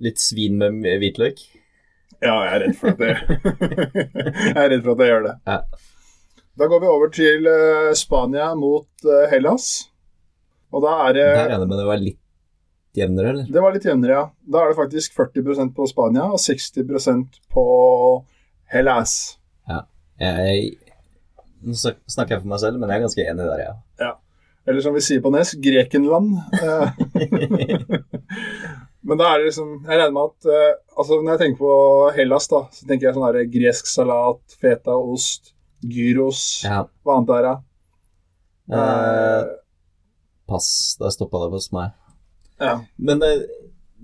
Speaker 3: litt svin med m- hvitløk?
Speaker 2: Ja, jeg er redd for at jeg, jeg er redd for at jeg gjør det.
Speaker 3: Ja.
Speaker 2: Da går vi over til øh, Spania mot øh, Hellas. Og da er det
Speaker 3: Der regner jeg med det var litt jevnere, eller?
Speaker 2: Det var litt jevnere, ja. Da er det faktisk 40 på Spania og 60 på Hellas.
Speaker 3: Jeg, nå snak- snakker jeg for meg selv, men jeg er ganske enig der, ja.
Speaker 2: Eller som vi sier på Nes, Grekenland. Eh, Men da er det liksom Jeg regner med at eh, altså Når jeg tenker på Hellas, da, så tenker jeg sånn her gresk salat, feta, ost, gyros
Speaker 3: ja.
Speaker 2: Hva annet er det?
Speaker 3: Eh, pass, der stoppa det hos meg.
Speaker 2: ja.
Speaker 3: Men eh,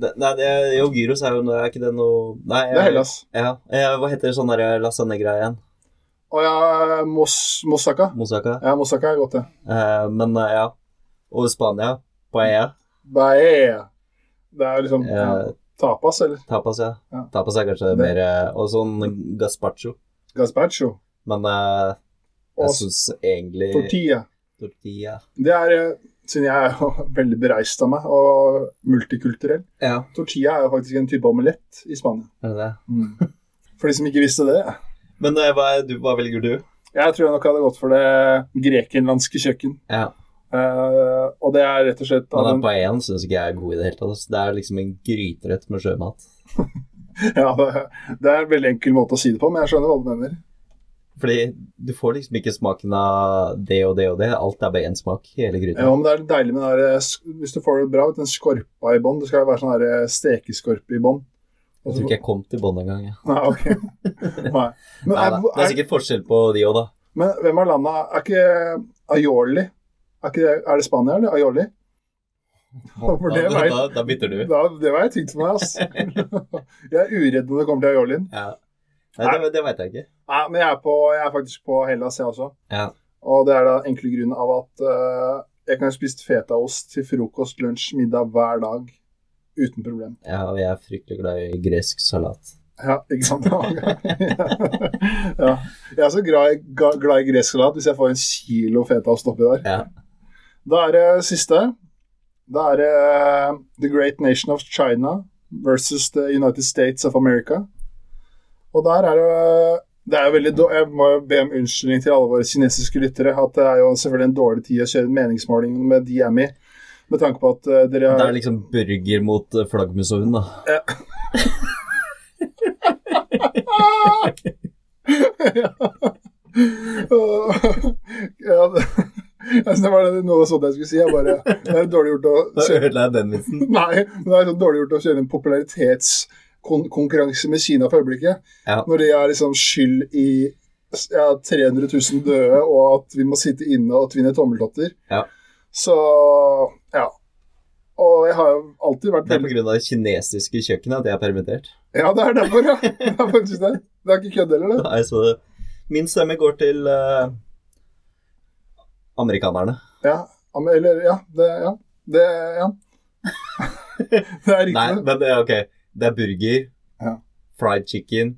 Speaker 3: det, nei, det er jo gyros er jo noe- Er ikke det noe Nei,
Speaker 2: Det er Hellas.
Speaker 3: Ja, eh, Hva heter sånn der lasagne-greie igjen?
Speaker 2: Å Eh, ja, mos, moussaka.
Speaker 3: Moussaka?
Speaker 2: Ja, moussaka er godt, det.
Speaker 3: Eh, men eh, ja. Og Spania, paella.
Speaker 2: Bae. Det er liksom ja.
Speaker 3: Eh,
Speaker 2: tapas, eller
Speaker 3: Tapas, ja.
Speaker 2: Ja.
Speaker 3: Tapas er kanskje
Speaker 2: Det-
Speaker 3: mer eh, Og sånn gazpacho.
Speaker 2: gazpacho.
Speaker 3: Men eh,
Speaker 2: Og
Speaker 3: jeg syns egentlig
Speaker 2: tortilla.
Speaker 3: Tortilla.
Speaker 2: Det er, eh, siden jeg er jo veldig bereist av meg, og multikulturell
Speaker 3: Ja.
Speaker 2: Tortilla er jo faktisk en type omelett i Spania.
Speaker 3: Er det det?
Speaker 2: Mm. For de som ikke visste det.
Speaker 3: Men eh, hva, er du, hva velger du?
Speaker 2: Jeg tror jeg nok hadde gått for det grekenlandske kjøkken.
Speaker 3: Ja.
Speaker 2: Eh, og det er rett og slett av
Speaker 3: Men den
Speaker 2: den,
Speaker 3: paellaen syns ikke jeg er god i det hele tatt. ass. Det er liksom en gryterett med sjømat.
Speaker 2: ja, det, det er en veldig enkel måte å si det på, men jeg skjønner hva du mener.
Speaker 3: Fordi du får liksom ikke smaken av det og det og det. Alt er bare én smak i hele
Speaker 2: Ja,
Speaker 3: gryta.
Speaker 2: men det er deilig med den der, eh, sk- hvis du får det bra, vet du, den skorpa i bånn. Det skal jo være sånn der, eh, stekeskorpe i bånn.
Speaker 3: Jeg tror ikke jeg kom til bånn engang. Ja.
Speaker 2: Nei, ok. Nei. Men,
Speaker 3: Nei, da.
Speaker 2: er,
Speaker 3: Det er
Speaker 2: er,
Speaker 3: sikkert forskjell på de òg, da.
Speaker 2: men hvem av landa er ikke Aioli? Er, ikke, det- er det Spania eller Aioli? For det
Speaker 3: da,
Speaker 2: var-
Speaker 3: da, da bytter du.
Speaker 2: Da, det var jeg tyngt for meg, altså. jeg er uredd når det kommer til aiolien.
Speaker 3: Ja. Nei, det, det veit jeg ikke.
Speaker 2: Nei, men jeg er, på, jeg er faktisk på Hellas, jeg også.
Speaker 3: Ja.
Speaker 2: Og det er da enkle grunn av at eh, jeg kan ha spist fetaost til frokost, lunsj, middag hver dag uten problem.
Speaker 3: ja, og jeg er fryktelig glad i gresk salat.
Speaker 2: Ja, ikke sant? ja. Jeg er så glad i, ga- glad i gresk salat hvis jeg får en kilo fetaost oppi der.
Speaker 3: Ja.
Speaker 2: Da er det siste. Da er det eh, The Great Nation of China versus The United States of America. Og der er det det er jo veldig dår- Jeg må jo be om unnskyldning til alle våre kinesiske lyttere at det er jo selvfølgelig en dårlig tid å kjøre en meningsmåling med de jeg er med i, med tanke på at eh, dere
Speaker 3: Det er liksom burger mot eh, flaggermus og hund, da.
Speaker 2: Og- ja, det- jeg synes det var noe sånt jeg skulle si. Jeg bare, det er dårlig gjort å
Speaker 3: Da
Speaker 2: kjøre,
Speaker 3: ødela jeg den vitsen.
Speaker 2: nei, men det er sånn dårlig gjort å kjøre en popularitetskonkurranse med Kina for øyeblikket.
Speaker 3: Ja.
Speaker 2: Når de er liksom skyld i ja, 300 000 døde, og at vi må sitte inne og tvinne tommeltotter.
Speaker 3: Ja.
Speaker 2: Så ja. Og jeg har jo alltid vært
Speaker 3: Det er pga. det kinesiske kjøkkenet at jeg er permittert.
Speaker 2: Ja, det er derfor, ja. Det er faktisk det. Det er ikke kødd heller, det.
Speaker 3: Nei, så min stemme går til eh, amerikanerne.
Speaker 2: Ja, ja, men- eller, ja, det, ja. Det, ja. det er riktig.
Speaker 3: Nei,
Speaker 2: det.
Speaker 3: men det er ok. Det er burger,
Speaker 2: Ja.
Speaker 3: fried chicken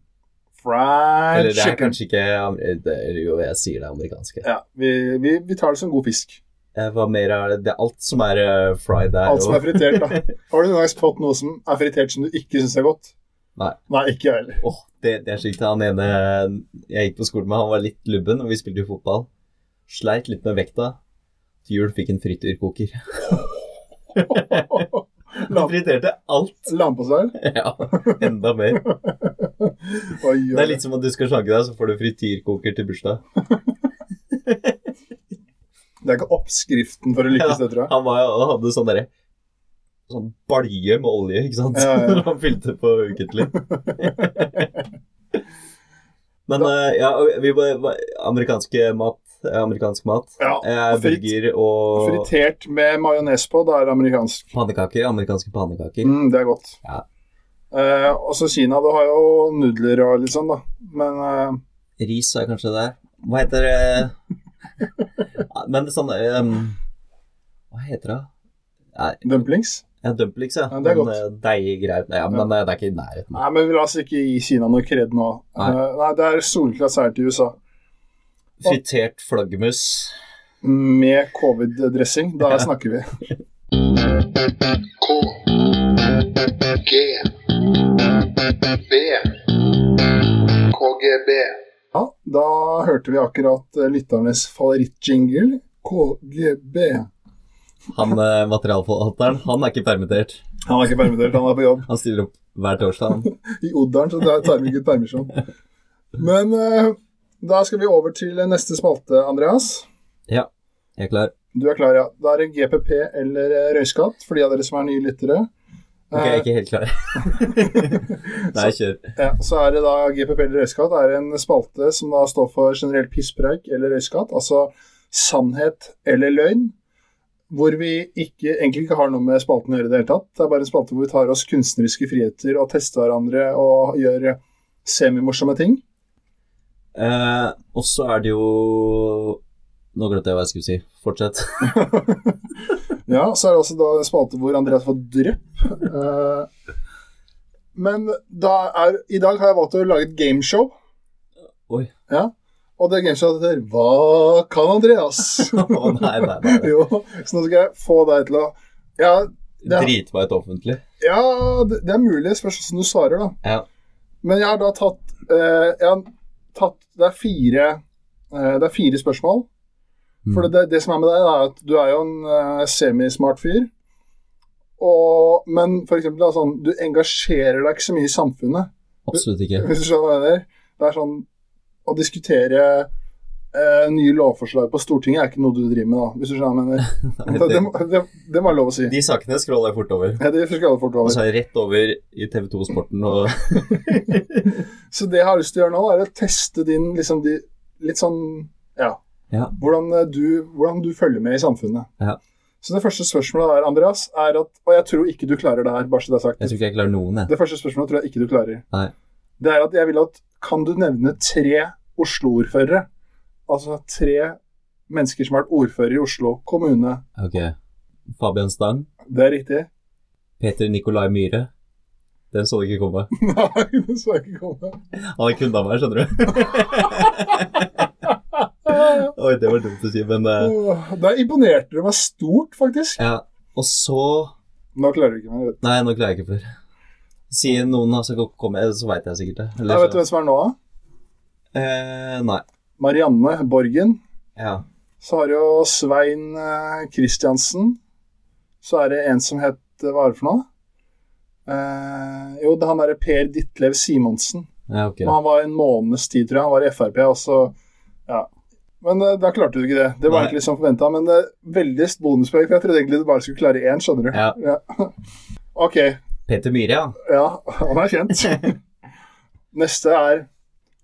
Speaker 2: Fried
Speaker 3: Eller det er
Speaker 2: chicken.
Speaker 3: kanskje ikke amer- det, er Jo, jeg sier det er amerikanske.
Speaker 2: Ja, vi, vi, vi tar det som god fisk.
Speaker 3: Eh, Hva mer er det? Det er alt som er eh, fried der.
Speaker 2: Alt som er fritert, da. Har du noen gang fått noe som er fritert som du ikke syns er godt?
Speaker 3: Nei.
Speaker 2: Nei, ikke jeg heller.
Speaker 3: Åh, det, det er slik til han ene jeg gikk på skolen med, han var litt lubben, og vi spilte jo fotball. Sleit litt med vekta. Til jul fikk en frityrkoker. Han
Speaker 2: Lam-
Speaker 3: friterte alt.
Speaker 2: Lampestell?
Speaker 3: Ja, enda mer.
Speaker 2: Oi,
Speaker 3: Det
Speaker 2: oi.
Speaker 3: er litt som at du skal slanke deg, så får du frityrkoker til bursdag.
Speaker 2: det er ikke oppskriften for å lykkes, det, tror jeg.
Speaker 3: Han var, jo- hadde sånn derre Sånn balje med olje, ikke sant?
Speaker 2: Ja, ja.
Speaker 3: han fylte på ukentlig. Men
Speaker 2: Da-
Speaker 3: eh, ja, vi bare Amerikanske mat. eh, Amerikansk mat.
Speaker 2: Ja,
Speaker 3: Eh,
Speaker 2: og frit-
Speaker 3: burger og
Speaker 2: Fritert med majones på, da er det amerikansk.
Speaker 3: Pannekaker, amerikanske pannekaker.
Speaker 2: Mm, det er godt.
Speaker 3: Ja.
Speaker 2: Eh, også Kina, du har jo nudler og litt sånn, da. Men eh,
Speaker 3: Ris er kanskje det der. Hva heter det Ja, Men sånn ehm, Hva heter det?
Speaker 2: dumplings?
Speaker 3: Ja, Dumplings, ja.
Speaker 2: Ja, det er godt.
Speaker 3: Men, eh, Deiggreier ja, Men eh, det er ikke i nærheten.
Speaker 2: Nei, men la oss ikke gi Kina noe kred nå.
Speaker 3: Nei.
Speaker 2: Eh, nei, det er soleklass her til USA.
Speaker 3: Fritert flaggermus.
Speaker 2: Med covid-dressing, da snakker vi.
Speaker 4: K G B KGB
Speaker 2: Ja, da hørte vi akkurat eh, lytternes favorittjingle, KGB.
Speaker 3: Han eh, materialforvalteren, han er ikke permittert.
Speaker 2: Han er ikke permittert, han er på jobb.
Speaker 3: Han stiller opp hver torsdag. han.
Speaker 2: I Odderen, så der tar vi ikke ut permisjon. Men eh, da skal vi over til eh, neste spalte, Andreas.
Speaker 3: Ja, jeg er klar.
Speaker 2: Du er klar, ja. Da er det GPP eller eh, røyskatt, for de av dere som er nye lyttere.
Speaker 3: Ok, jeg
Speaker 2: Eh,
Speaker 3: er ikke helt klar. Nei, kjør.
Speaker 2: Ja, så er det da GPP eller røyskatt. Det er en spalte som da står for generelt pisspreik eller røyskatt. Altså sannhet eller løgn. Hvor vi ikke, egentlig ikke har noe med spalten å gjøre i det hele tatt. Det er bare en spalte hvor vi tar oss kunstneriske friheter og tester hverandre og gjør semimorsomme ting.
Speaker 3: Eh, og så er det jo Nå glemte jeg hva jeg skulle si. Fortsett.
Speaker 2: Ja, så er det også da en spalte hvor Andreas får drypp. Eh, men da er, i dag har jeg valgt å lage et gameshow.
Speaker 3: Oi.
Speaker 2: Ja, og det gameshowet heter Hva kan Andreas?
Speaker 3: Å nei, nei, nei. nei.
Speaker 2: Jo, så nå skal jeg få deg til å Ja, Ja.
Speaker 3: Drit meg ut offentlig.
Speaker 2: ja det, det er mulig. Spørs hvordan du svarer, da.
Speaker 3: Ja.
Speaker 2: Men jeg har da tatt, eh, jeg har tatt Det er fire eh, Det er fire spørsmål. For det, det som er med deg, er at du er jo en eh, semismart fyr. Og, men for eksempel, da, sånn, du engasjerer deg ikke så mye i samfunnet.
Speaker 3: Absolutt ikke.
Speaker 2: Hvis du skjønner hva jeg mener. Det er sånn Å diskutere eh, nye lovforslag på Stortinget er ikke noe du driver med, da. Hvis du skjønner hva jeg mener. Det, det, må- det, det må jeg lov å si.
Speaker 3: De sakene scroller jeg fort over.
Speaker 2: Ja, det husker alle fort
Speaker 3: Og
Speaker 2: over.
Speaker 3: så er jeg rett over i TV2 Sporten og
Speaker 2: Så det jeg har lyst til å gjøre nå, er å teste din liksom, de, litt sånn Ja.
Speaker 3: Ja.
Speaker 2: Hvordan, eh, du, hvordan du følger med i samfunnet.
Speaker 3: Ja.
Speaker 2: Så det første spørsmålet her, Andreas, er at Og jeg tror ikke du klarer det her, bare så det er sagt.
Speaker 3: Jeg tror ikke jeg klarer noen, jeg.
Speaker 2: Det første spørsmålet tror jeg ikke du klarer.
Speaker 3: Nei.
Speaker 2: Det er at jeg vil at Kan du nevne tre Oslo-ordførere? Altså tre mennesker som har vært ordfører i Oslo kommune.
Speaker 3: Ok. Fabian Stang.
Speaker 2: Det er riktig?
Speaker 3: Peter Nikolai Myhre. Den så du ikke komme.
Speaker 2: Nei, det så jeg ikke komme.
Speaker 3: Han er kunde av meg, skjønner du. Oi, det var dumt å si, men eh,
Speaker 2: Åh, Der imponerte du meg stort, faktisk.
Speaker 3: Ja. Og så
Speaker 2: Nå klarer du ikke meg. vet du.
Speaker 3: Nei, nå klarer jeg ikke flere. Sier noen altså komme, så veit jeg sikkert det. Eller
Speaker 2: Ja, vet du
Speaker 3: så-
Speaker 2: hvem som er nå? da?
Speaker 3: Eh, nei.
Speaker 2: Marianne Borgen.
Speaker 3: Ja.
Speaker 2: Så har jo Svein eh, Kristiansen. Så er det en som het Hva er det for noe? Eh, jo, det er han derre Per Ditlev Simonsen.
Speaker 3: ja ok.
Speaker 2: Men han var en måneds tid, tror jeg. Han var i Frp, og så Ja. Men eh, da klarte du ikke det. Det var
Speaker 3: Nei.
Speaker 2: egentlig som forventa. Men uh, veldig bonuspoeng, for jeg trodde egentlig du bare skulle klare én, skjønner du.
Speaker 3: Ja.
Speaker 2: OK.
Speaker 3: Peter Myhre, ja.
Speaker 2: Ja, han er kjent. Neste er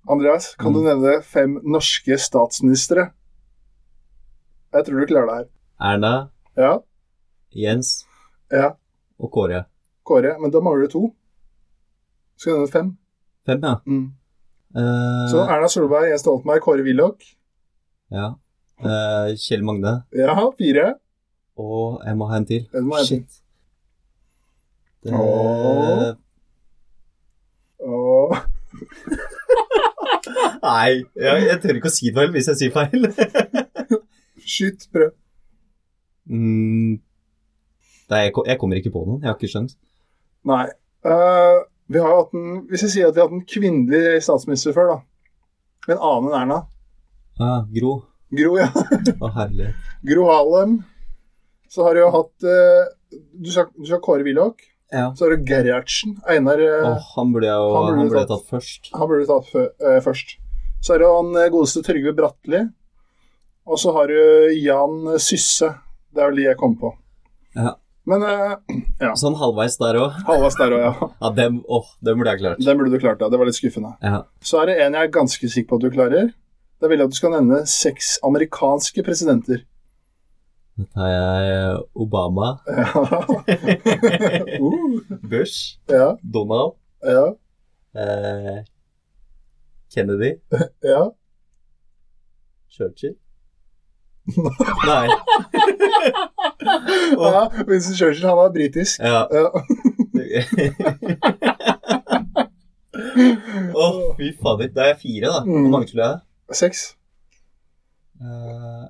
Speaker 2: Andreas, kan du nevne fem norske statsministre? Jeg tror du klarer det her.
Speaker 3: Erna,
Speaker 2: Ja,
Speaker 3: Jens
Speaker 2: Ja.
Speaker 3: og Kåre.
Speaker 2: Kåre, men da mangler du to. Skal du nevne fem?
Speaker 3: Fem, ja. Eh,
Speaker 2: Så Erna Solberg, Jens Stoltenberg, Kåre Willoch.
Speaker 3: ja. Eh, Kjell Magne.
Speaker 2: Ja, fire.
Speaker 3: Og jeg må ha en til.
Speaker 2: Ja, du må ha en til.
Speaker 3: Shit. Det...
Speaker 2: Åh. Og
Speaker 3: Nei, jeg, jeg tør ikke å si det vel hvis jeg sier feil.
Speaker 2: skyt, prøv.
Speaker 3: mm. Nei, jeg, ko- jeg kommer ikke på noen. Jeg har ikke sjans.
Speaker 2: Nei. Eh, vi har jo hatt en, hvis jeg sier at vi har hatt en kvinnelig statsminister før, da. En annen enn Erna.
Speaker 3: Ah, Gro.
Speaker 2: Gro, ja.
Speaker 3: Å, herlig.
Speaker 2: Gro Harlem. Så har du jo hatt eh, Du sa, du sa Kåre Willoch.
Speaker 3: Ja.
Speaker 2: Så har du Gerhardsen. Einar eh,
Speaker 3: Åh, han burde jeg jo
Speaker 2: han burde
Speaker 3: han burde jeg
Speaker 2: tatt.
Speaker 3: tatt først.
Speaker 2: Han burde du tatt fø- eh, først. Så har du han eh, godeste Trygve Bratteli. Og så har du Jan Sysse. Det er vel de jeg kom på.
Speaker 3: Ja.
Speaker 2: Men eh,
Speaker 3: Sånn halvveis der òg.
Speaker 2: Halvas der òg, ja.
Speaker 3: Ja, dem, åh, dem burde jeg klart.
Speaker 2: Den burde du klart, ja. Det var litt skuffende.
Speaker 3: Ja.
Speaker 2: Så er det en jeg er ganske sikker på at du klarer. Da vil jeg at du skal nevne seks amerikanske presidenter.
Speaker 3: Da tar jeg eh, Obama.
Speaker 2: uh,
Speaker 3: Bush.
Speaker 2: ja,
Speaker 3: Donald.
Speaker 2: ja,
Speaker 3: Eh, Kennedy.
Speaker 2: ja.
Speaker 3: Churchill? Nei.
Speaker 2: ja. Winston Churchill, han var britisk.
Speaker 3: Ja.
Speaker 2: Ja.
Speaker 3: Å, fy fader. Da er jeg fire, da. Hvor
Speaker 2: Mm.
Speaker 3: mange skulle jeg?
Speaker 2: Seks.
Speaker 3: Uh,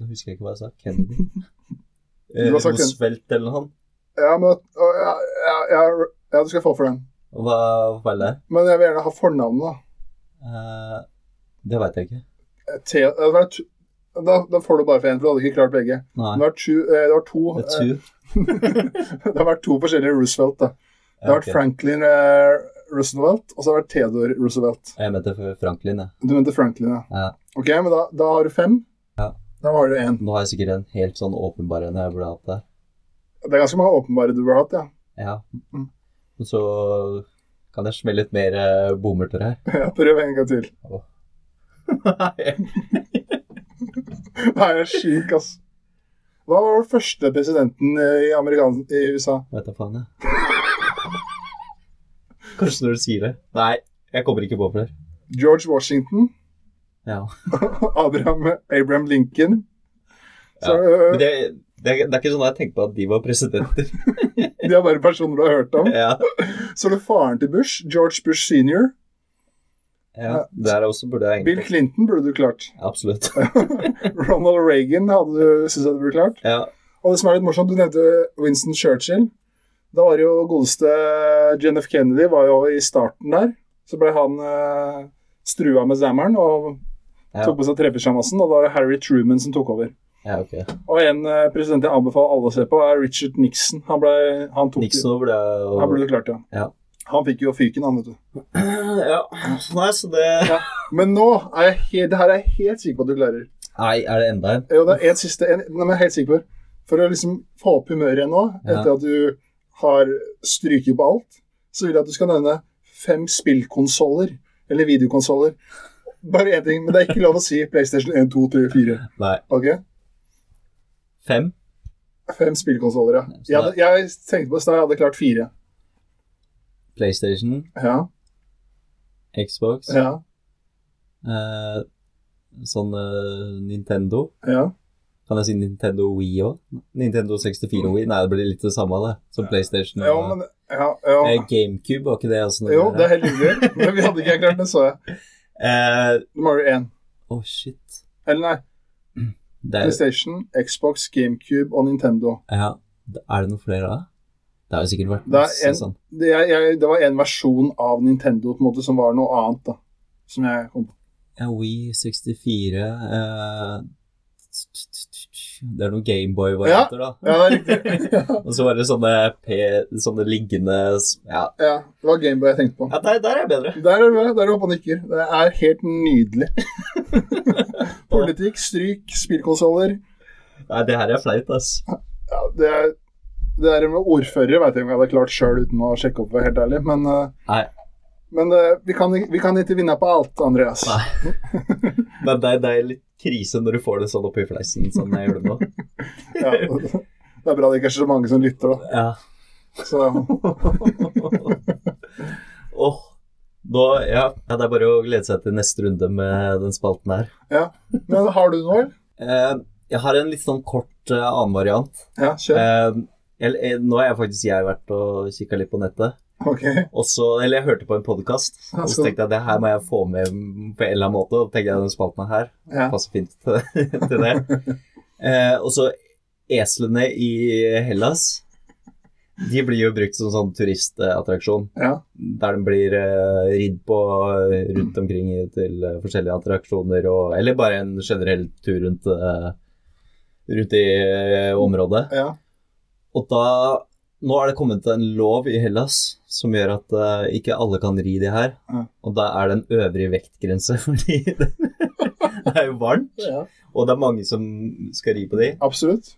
Speaker 3: nå husker jeg ikke hva jeg sa. Kennedy? Eh,
Speaker 2: Du har sagt Kennedy.
Speaker 3: Roosevelt eller noe sånt?
Speaker 2: Ja, men å, ja, ja, ja, ja, du skal få for den.
Speaker 3: Hva hva er det?
Speaker 2: Men jeg vil gjerne ha fornavnet, da.
Speaker 3: Eh, det veit jeg ikke.
Speaker 2: Te det hadde vært, da, da får du bare for én, for du hadde ikke klart begge.
Speaker 3: Nei.
Speaker 2: Det var, tu, eh, det var to
Speaker 3: Det
Speaker 2: eh,
Speaker 3: er two.
Speaker 2: Det har vært to forskjellige Roosevelt. da. Det har
Speaker 3: Ja,
Speaker 2: vært
Speaker 3: ok.
Speaker 2: Franklin eh, Roosevelt, og så har det vært Theodore Roosevelt.
Speaker 3: Jeg mente for Franklin, jeg.
Speaker 2: Du mente Franklin, ja.
Speaker 3: Ja.
Speaker 2: Ok, men da, da har du fem.
Speaker 3: Ja.
Speaker 2: Da har du én.
Speaker 3: Nå har jeg sikkert en helt sånn åpenbar en jeg burde hatt der.
Speaker 2: Det er ganske mange åpenbare du har hatt, ja.
Speaker 3: Ja.
Speaker 2: Mm.
Speaker 3: Og så kan jeg smelle litt mer eh, bommerter her.
Speaker 2: ja. Prøv en gang til. Det er sjuk, ass. Hva var den første presidenten eh, i, Amerikan i USA?
Speaker 3: Vet da faen, jeg. Kanskje når du sier det. Nei, jeg kommer ikke på flere.
Speaker 2: George Washington.
Speaker 3: Ja.
Speaker 2: Abraham, Abraham Lincoln. Så,
Speaker 3: Ja,
Speaker 2: eh,
Speaker 3: Men det, det, er- det er ikke sånn at jeg tenkte på at de var presidenter.
Speaker 2: De er bare personer du har hørt om.
Speaker 3: Ja,
Speaker 2: Så er det faren til Bush, George Bush senior.
Speaker 3: ja. Der også burde jeg
Speaker 2: Bill
Speaker 3: egentlig
Speaker 2: Clinton burde du klart.
Speaker 3: Absolutt.
Speaker 2: Ronald Reagan hadde du syntes jeg du burde klart.
Speaker 3: Ja.
Speaker 2: Og det som er litt morsomt, du nevnte Winston Churchill. Da var det jo godeste John F. Kennedy var jo i starten der. Så ble han eh, strua med zammeren og
Speaker 3: Ja.
Speaker 2: tok på seg trepysjamasen. Og da var det Harry Truman som tok over.
Speaker 3: ja, ok.
Speaker 2: Og en eh, president jeg anbefaler alle å se på, er Richard Nixon. Han, ble, han tok
Speaker 3: Nixon burde jeg
Speaker 2: Han
Speaker 3: jo
Speaker 2: ble klart, ja.
Speaker 3: Ja.
Speaker 2: Han fikk jo fyken, han, vet du.
Speaker 3: Ja. Nei, så det
Speaker 2: Men nå er jeg helt, det her er jeg helt sikker på at du klarer.
Speaker 3: Nei, er det enda en?
Speaker 2: Jo, det er en siste en, nei, men jeg er helt sikker på. For å liksom få opp humøret igjen nå,
Speaker 3: Ja.
Speaker 2: etter at du har stryket på alt, så vil jeg at du skal nevne fem spillkonsoller, eller videokonsoller. Bare én ting, men det er ikke lov å si PlayStation 1, 2, 3, 4.
Speaker 3: Nei.
Speaker 2: Ok?
Speaker 3: Fem?
Speaker 2: Fem spillkonsoller, ja. Jeg, hadde, jeg tenkte på det i stad, jeg hadde klart fire.
Speaker 3: PlayStation,
Speaker 2: Ja,
Speaker 3: Xbox,
Speaker 2: ja,
Speaker 3: eh, sånn eh, Nintendo.
Speaker 2: ja.
Speaker 3: Kan jeg si Nintendo Wii òg? Nintendo 64 Wii? Nei, det blir litt det samme, det. Som PlayStation.
Speaker 2: Jo,
Speaker 3: og-
Speaker 2: men, ja, ja.
Speaker 3: Eh, GameCube, var ikke det også noe
Speaker 2: jo
Speaker 3: der?
Speaker 2: det er helt riktig. Men vi hadde ikke klart det, så jeg.
Speaker 3: Eh,
Speaker 2: Du mangler én.
Speaker 3: Å, shit.
Speaker 2: Eller nei,
Speaker 3: Det er,
Speaker 2: PlayStation, Xbox, GameCube og Nintendo.
Speaker 3: ja, er det noen flere da? Det har jo sikkert vært
Speaker 2: Det er
Speaker 3: masse
Speaker 2: en-
Speaker 3: sånn.
Speaker 2: Det, jeg, jeg, det var en versjon av Nintendo på en måte som var noe annet, da. Som jeg kom på.
Speaker 3: Ja, Wii 64 eh, Det er noen Gameboy-varianter, da.
Speaker 2: Ja, det er riktig. Ja,
Speaker 3: Og så var det sånne, P, sånne liggende s- Ja,
Speaker 2: ja. Det var Gameboy jeg tenkte på.
Speaker 3: ja der, der er jeg bedre.
Speaker 2: Der er du med, der er du oppe og nikker. Det er helt nydelig. Politikk, stryk, spillkonsoller.
Speaker 3: Nei, det her er flaut, ass.
Speaker 2: Ja, det, er- det der med ordførere vet jeg ikke om jeg hadde klart sjøl uten å sjekke opp, for å være helt ærlig. Men, eh,
Speaker 3: Nei.
Speaker 2: men eh, vi, kan, vi kan ikke vinne på alt, Andreas.
Speaker 3: Nei. Men det, er- det er litt krise når du får det sånn oppi fleisen, som jeg gjør det nå.
Speaker 2: Ja, det er bra det ikke er så mange som lytter, da.
Speaker 3: Ja.
Speaker 2: Så,
Speaker 3: Åh, nå, ja, ja, det er bare å glede seg til neste runde med den spalten her.
Speaker 2: men har du noe? eller?
Speaker 3: Eh, jeg har en litt sånn kort eh, annen variant.
Speaker 2: Ja, kjør.
Speaker 3: Eh, eller, eh, nå har jeg faktisk jeg vært og kikka litt på nettet.
Speaker 2: Eh, Ok.
Speaker 3: Og så- eller jeg hørte på en podkast, og så tenkte jeg det her må jeg få med på en eller annen måte. Og tenkte jeg den spalten her
Speaker 2: Ja.
Speaker 3: passer fint til, til det. Eh, og så eslene i Hellas. De blir jo brukt som sånn turistattraksjon.
Speaker 2: Ja.
Speaker 3: der den blir eh, ridd på eh, rundt omkring i- til eh, forskjellige attraksjoner, og, eller bare en generell tur rundt, eh, rundt i eh, området.
Speaker 2: ja.
Speaker 3: Og da Nå er det kommet en lov i Hellas som gjør at eh, ikke alle kan ri de her.
Speaker 2: Ja.
Speaker 3: Og da er det en øvrig vektgrense, fordi det, det er jo varmt,
Speaker 2: ja.
Speaker 3: og det er mange som skal ri på de.
Speaker 2: Absolutt.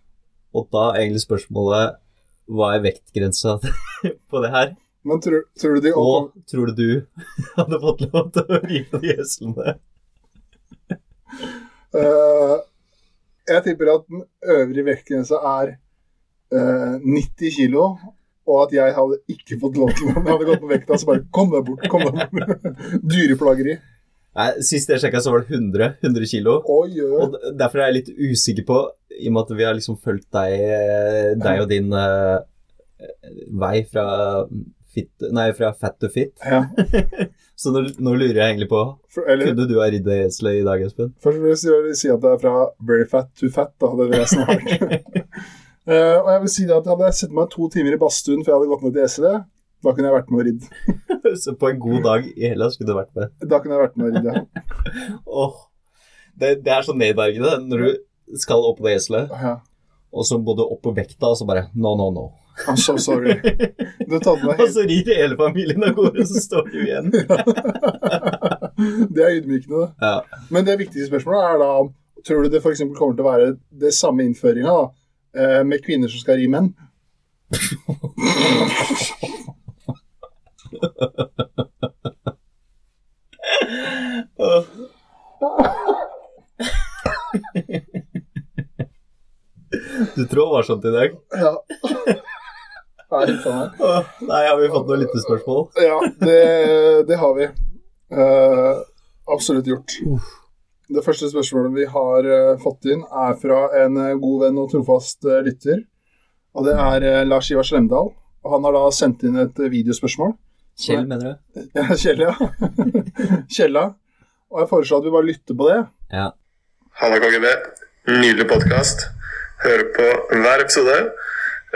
Speaker 3: Og da er egentlig spørsmålet hva er vektgrensa på det her?
Speaker 2: Men tror, tror du de
Speaker 3: Og tror du du hadde fått lov til å ri på de heslene?
Speaker 2: Eh, jeg tipper at den øvrige vektgrensa er eh, 90 kilo, og at jeg hadde ikke fått lov til det. Jeg hadde gått på vekta, så bare kom deg bort. kom deg bort. Dyreplageri.
Speaker 3: Nei, Sist jeg sjekka, så var det 100, 100 kilo.
Speaker 2: Oi, oi, oi.
Speaker 3: Og d- derfor er jeg litt usikker på, i og med at vi har liksom fulgt deg, eh, deg og din eh, vei fra fit, nei, fra fat to fit.
Speaker 2: Ja.
Speaker 3: Så nå, nå lurer jeg egentlig på
Speaker 2: For, eller
Speaker 3: Kunne du ha ridd det eselet i dag, Espen?
Speaker 2: først vil jeg si- jeg vil si at det er fra very fat to fat. da, det er det jeg snart. Eh, og jeg vil si det at Hadde jeg sett meg to timer i badstuen før jeg hadde gått ned til SED, da kunne jeg vært med og ridd.
Speaker 3: Så på en god dag i Hellas skulle du vært med.
Speaker 2: Da kunne jeg vært med og ridd, ja.
Speaker 3: Åh, det, det er så nedverdigende når du skal opp på det eselet.
Speaker 2: ja.
Speaker 3: Og så både opp på vekta, og så bare no, no, no.
Speaker 2: I'm so sorry. Du tar med meg
Speaker 3: Og så rir hele familien av gårde, så står du igjen.
Speaker 2: Det er ydmykende, det.
Speaker 3: Ja.
Speaker 2: Men det viktigste spørsmålet er da om- Tror du det for eksempel kommer til å være det samme innføringa da, eh, med kvinner som skal ri menn?
Speaker 3: Åh. Du trår varsomt i dag.
Speaker 2: Ja. Nei, faen meg.
Speaker 3: Åh, Nei, har vi fått noen lyttespørsmål?
Speaker 2: ja det, det har vi. Eh, absolutt gjort. Det første spørsmålet vi har eh, fått inn, er fra en eh, god venn og trofast eh, lytter. Og det er eh, Lars Ivar Slemdal. Og han har da sendt inn et eh, videospørsmål.
Speaker 3: Kjell, mener du?
Speaker 2: Ja, Kjell, ja. Kjella. Og jeg foreslår at vi bare lytter på det.
Speaker 3: Ja.
Speaker 5: Halla, KGB. Nydelig podkast. Hører på hver episode.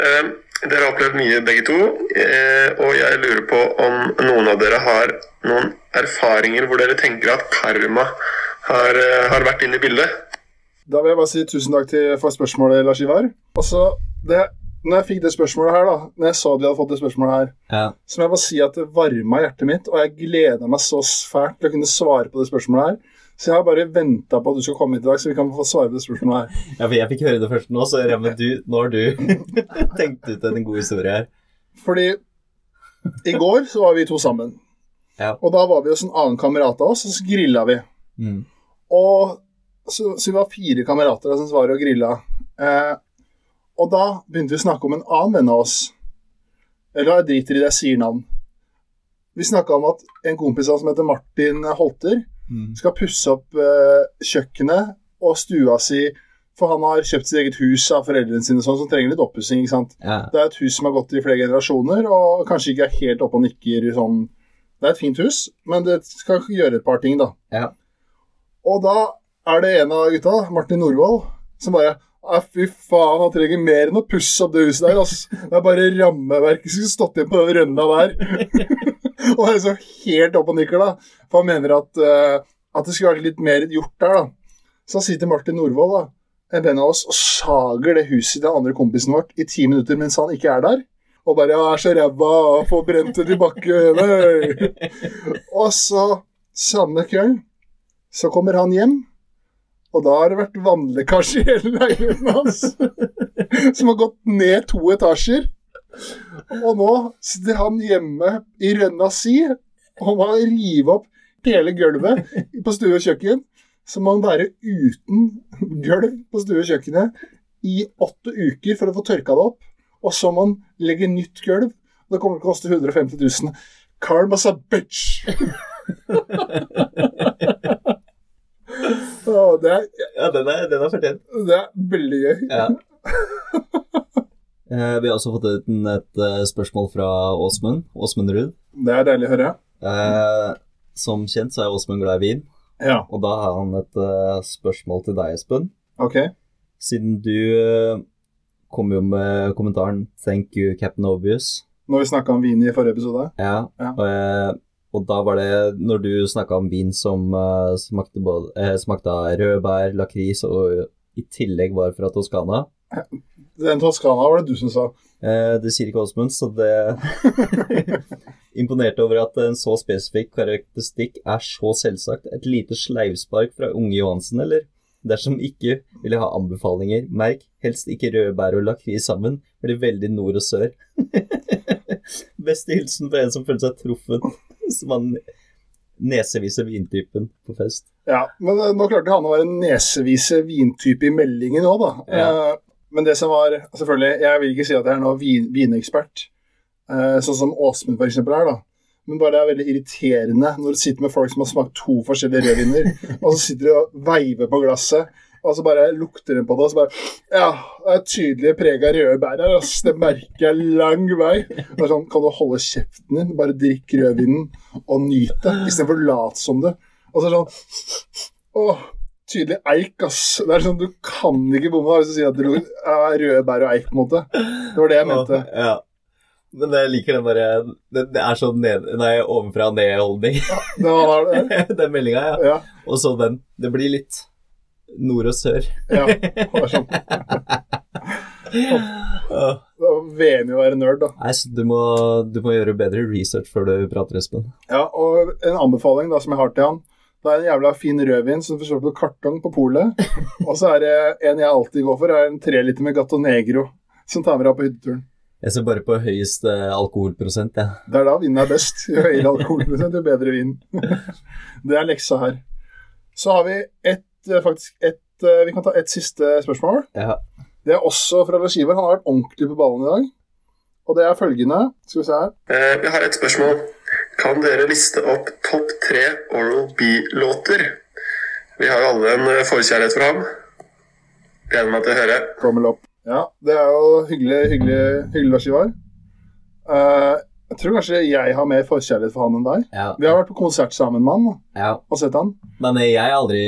Speaker 5: Eh, Dere har opplevd mye, begge to. eh, Og jeg lurer på om noen av dere har noen erfaringer hvor dere tenker at karma har, eh, har vært inne i bildet.
Speaker 2: Da vil jeg bare si tusen takk til, for spørsmålet, Lars Ivar. Og så, det- når jeg fikk det spørsmålet her, da, når jeg så at vi hadde fått det spørsmålet her,
Speaker 3: ja.
Speaker 2: så må jeg bare si at det varma hjertet mitt, og jeg gleda meg så fælt til å kunne svare på det spørsmålet her. Så jeg har bare venta på at du skal komme hit i dag, så vi kan få svare på det spørsmålet her.
Speaker 3: ja, for jeg fikk høre det først nå, så jeg regner med du, nå har du tenkt ut en god historie her.
Speaker 2: Fordi i går så var vi to sammen.
Speaker 3: Ja.
Speaker 2: Og da var vi hos en annen kamerat av oss, og så grilla vi.
Speaker 3: Mm.
Speaker 2: Og så, så vi var fire kamerater da som svarer og grilla. Eh, Og da begynte vi å snakke om en annen venn av oss. Eller jeg driter i det jeg sier navn. Vi snakka om at en kompis av oss som heter Martin Holter,
Speaker 3: Mm.
Speaker 2: skal pusse opp eh, kjøkkenet og stua si, for han har kjøpt sitt eget hus av foreldrene sine, sånn, som trenger litt oppussing. ikke sant?
Speaker 3: Ja.
Speaker 2: Det er et hus som har gått i flere generasjoner, og kanskje ikke er helt oppe og nikker sånn Det er et fint hus, men det skal gjøre et par ting, da.
Speaker 3: Ja.
Speaker 2: Og da er det en av gutta, Martin Norvoll, som bare «Nei, Fy faen, han trenger mer enn å pusse opp det huset der. ass. Det er bare rammeverket som skulle stått igjen på den rønna der. og han er så helt opp og nikker, da. For han mener at, eh, at det skulle vært litt mer gjort der, da. Så han sier til Martin Norvoll, da, en venn av oss, og sager det huset til den andre kompisen vårt i ti minutter mens han ikke er der. Og bare ja, er så ræva, og får brent det i bakken. Hey. og så, samme kveld, så kommer han hjem, og da har det vært vannlekkasje i hele leiligheten hans. som har gått ned to etasjer. Og nå sitter han hjemme i rønna si og må rive opp hele gulvet på stue og kjøkken. Så må han være uten gulv på stue og kjøkkenet i åtte uker for å få tørka det opp. Og så må han legge nytt gulv. Det kommer til å koste 150 000. Carl Massa bitch! Å, det, er,
Speaker 3: ja, den er, den er fortjent.
Speaker 2: det er veldig gøy.
Speaker 3: Ja. Eh, Vi har også fått ut en- et eh, spørsmål fra Åsmund, Åsmund Ruud.
Speaker 2: Det er deilig å høre.
Speaker 3: Eh, Som kjent så er Åsmund glad i vin,
Speaker 2: Ja,
Speaker 3: og da har han et eh, spørsmål til deg, Espen.
Speaker 2: ok.
Speaker 3: Siden du eh, kom jo med kommentaren 'Thank you, Captain Obvious'.
Speaker 2: Når vi snakka om vin i forrige episode.
Speaker 3: Ja,
Speaker 2: Ja.
Speaker 3: eh, Og da var det når du snakka om vin som eh, smakte, både, eh, smakte av rødbær, lakris og i tillegg var fra Toskana.
Speaker 2: Den Toskana var det du som sa.
Speaker 3: Eh, det sier ikke Åsmund, så det Imponerte over at en så spesifikk karakteristikk er så selvsagt. Et lite sleivspark fra unge Johansen, eller? Dersom ikke vil jeg ha anbefalinger. Merk helst ikke rødbær og lakris sammen. Blir veldig nord og sør. Beste hilsen fra en som føler seg truffet, som han neseviser vintypen på fest.
Speaker 2: Ja, Men eh, nå klarte han å være en nesevise vintype i meldingen òg, da.
Speaker 3: Ja.
Speaker 2: Eh, men det som var Selvfølgelig, jeg vil ikke si at jeg er noen vin, vinekspert, eh, sånn som Åsmund f.eks. er, da. Men bare det er veldig irriterende når du sitter med folk som har smakt to forskjellige rødviner, og så sitter du og veiver på glasset, og så bare lukter de på det, og så bare Ja, det er tydelig preg av røde bær her, ass. Det merker jeg lang vei. Det er sånn, kan du holde kjeften din, bare drikk rødvinen og nyt det, istedenfor å late som det. Og så er det sånn Åh, tydelig eik, ass. Det er sånn, Du kan ikke bomme da, hvis du sier at det luk- er røde bær og eik, på en måte. Det var det jeg mente.
Speaker 3: Ja. Men jeg liker den derre Det det er sånn ned, nei, ovenfra og ned-holdning.
Speaker 2: Det var det.
Speaker 3: den meldinga, ja.
Speaker 2: Ja,
Speaker 3: Og så den. Det blir litt nord og sør.
Speaker 2: ja. Det var sånn.
Speaker 3: Åh.
Speaker 2: Det var VM i å være nerd, da.
Speaker 3: Nei, så du må, du må gjøre bedre research før du prater, Espen.
Speaker 2: Ja, og en anbefaling da som jeg har til han. Det er en jævla fin rødvin som får kjøpt på kartong på polet. Og så er det en jeg alltid går for, er en treliter med Gato Negro. Som tar med deg på hytteturen.
Speaker 3: Jeg ser bare på høyest eh, alkoholprosent, jeg.
Speaker 2: Det er da vinen er best. Jo høyere alkoholprosent, jo bedre vin. Det er leksa her. Så har vi et, eh, faktisk et, eh, vi kan ta et siste spørsmål.
Speaker 3: Ja.
Speaker 2: Det er også fra Lars Ivar. Han har vært ordentlig på ballen i dag. Og det er følgende Skal vi se her.
Speaker 5: Eh, Vi har et spørsmål. Kan dere liste opp topp tre Oral B-låter? Vi har jo alle en eh, forkjærlighet for ham. Gleder meg til å høre.
Speaker 2: Tommel opp. Ja, det er jo hyggelig, hyggelig, hyggelig Lars Ivar. Eh, jeg tror kanskje jeg har mer forkjærlighet for han enn deg.
Speaker 3: Ja.
Speaker 2: Vi har vært på konsert sammen med han
Speaker 3: ja.
Speaker 2: og sett han.
Speaker 3: Men eh, jeg har aldri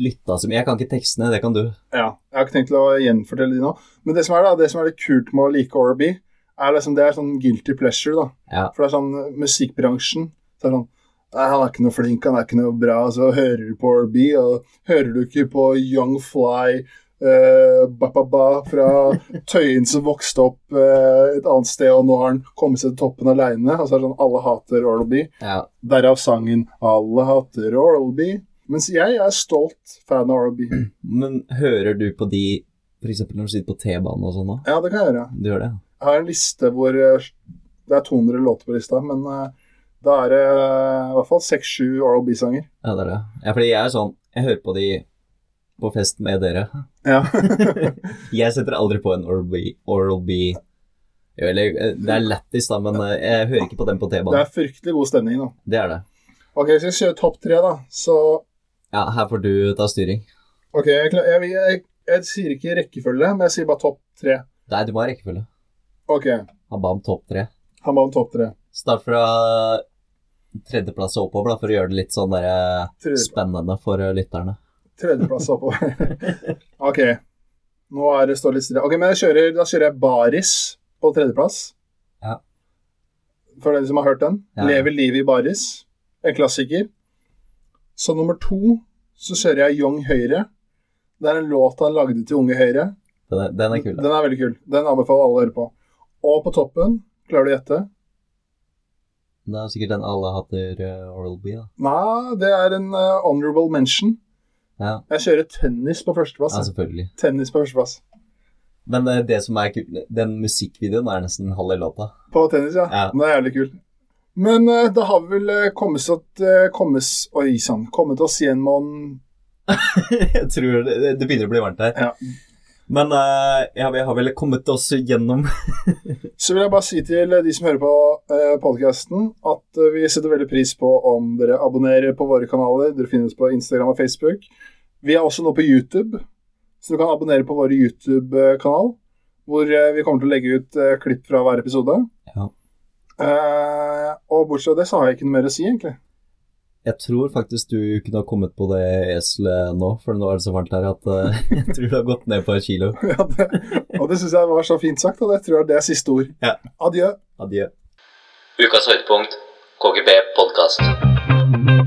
Speaker 3: lytta så mye. Jeg kan ikke tekstene, det kan du.
Speaker 2: Ja, Jeg har ikke tenkt til å gjenfortelle de nå. Men det som er da, det som er litt kult med å like Orby, er liksom, det er sånn guilty pleasure. da.
Speaker 3: Ja.
Speaker 2: For det er sånn eh, musikkbransjen så er det sånn, Nei, han er ikke noe flink, han er ikke noe bra. Så hører du på Orby, og hører du ikke på Young Fly eh, ba-ba-ba fra Tøyen som vokste opp eh, et annet sted, og nå har han kommet seg til toppen aleine. Og så er det sånn alle hater Orby.
Speaker 3: Ja.
Speaker 2: Derav sangen 'Alle hater Orby'. Mens jeg er stolt fan av Orby.
Speaker 3: Men hører du på de f.eks. når du sitter på T-banen og sånn da?
Speaker 2: Ja, det kan jeg gjøre.
Speaker 3: Du gjør det? ja.
Speaker 2: Jeg har en liste hvor eh, det er 200 låter på lista, men eh, da er det eh, i hvert fall 6-7 Oral B-sanger.
Speaker 3: Ja, det er det. Ja, fordi jeg er sånn Jeg hører på de på fest med dere.
Speaker 2: Ja.
Speaker 3: Jeg setter aldri på en Oral-B. Oral B. Jo, eller, eh, det er lættis, da, men eh, jeg hører ikke på den på
Speaker 2: Det
Speaker 3: T-banen.
Speaker 2: er fryktelig god stemning, da.
Speaker 3: Det er det.
Speaker 2: Ok, så jeg kjører topp tre, da. Så
Speaker 3: Ja, her får du ta styring.
Speaker 2: ok, jeg, kla- jeg, jeg, jeg sier ikke rekkefølge, men jeg sier bare topp tre.
Speaker 3: Nei, du må ha rekkefølge.
Speaker 2: Ok,
Speaker 3: Han ba om topp tre.
Speaker 2: han var om topp tre.
Speaker 3: Start fra tredjeplass og oppover, da, for å gjøre det litt sånn der, eh,
Speaker 2: Tredje-
Speaker 3: spennende for eh, lytterne.
Speaker 2: Tredjeplass oppover. ok, nå er det står litt stille. Ok, men jeg kjører, da kjører jeg Baris på tredjeplass.
Speaker 3: Ja.
Speaker 2: For dere som har hørt den.
Speaker 3: Ja.
Speaker 2: Lever livet i Baris. En klassiker. Så nummer to så kjører jeg Young Høyre. Det er en låt han lagde til Unge Høyre.
Speaker 3: Den er, den er kul. da.
Speaker 2: Den er veldig kul. Den anbefaler alle å høre på. Og på toppen, klarer du å gjette?
Speaker 3: Det er sikkert den alle hater eh, Oral-B, da.
Speaker 2: Nei, det er en eh, honorable mention.
Speaker 3: Ja,
Speaker 2: Jeg kjører tennis på førsteplass.
Speaker 3: ja, selvfølgelig.
Speaker 2: Tennis på førsteplass.
Speaker 3: Men eh, det som er kult, den musikkvideoen er nesten halve låta.
Speaker 2: På tennis, ja.
Speaker 3: Ja.
Speaker 2: Den er jævlig kul. Men eh, da har vi vel eh, kommet at, eh, kommet, oi, sann, kommet oss gjennom
Speaker 3: Jeg tror det, det begynner å bli varmt her.
Speaker 2: Ja.
Speaker 3: Men eh, ja, vi har vel kommet oss gjennom
Speaker 2: Så vil jeg bare si til de som hører på eh, podkasten, at eh, vi setter veldig pris på om dere abonnerer på våre kanaler. Dere finnes på Instagram og Facebook. Vi er også nå på YouTube, så du kan abonnere på vår YouTube-kanal. Hvor eh, vi kommer til å legge ut eh, klipp fra hver episode.
Speaker 3: Ja.
Speaker 2: Eh, og bortsett fra det så har jeg ikke noe mer å si, egentlig.
Speaker 3: Jeg tror faktisk du kunne ha kommet på det eselet nå, for nå er det så varmt her at eh, jeg tror du har gått ned på et kilo.
Speaker 2: Ja, det, og det syns jeg var så fint sagt, og det tror jeg det er siste ord.
Speaker 3: Ja.
Speaker 2: Adjø.
Speaker 3: Adjø.
Speaker 1: Ukas høydepunkt, KGB-podkast.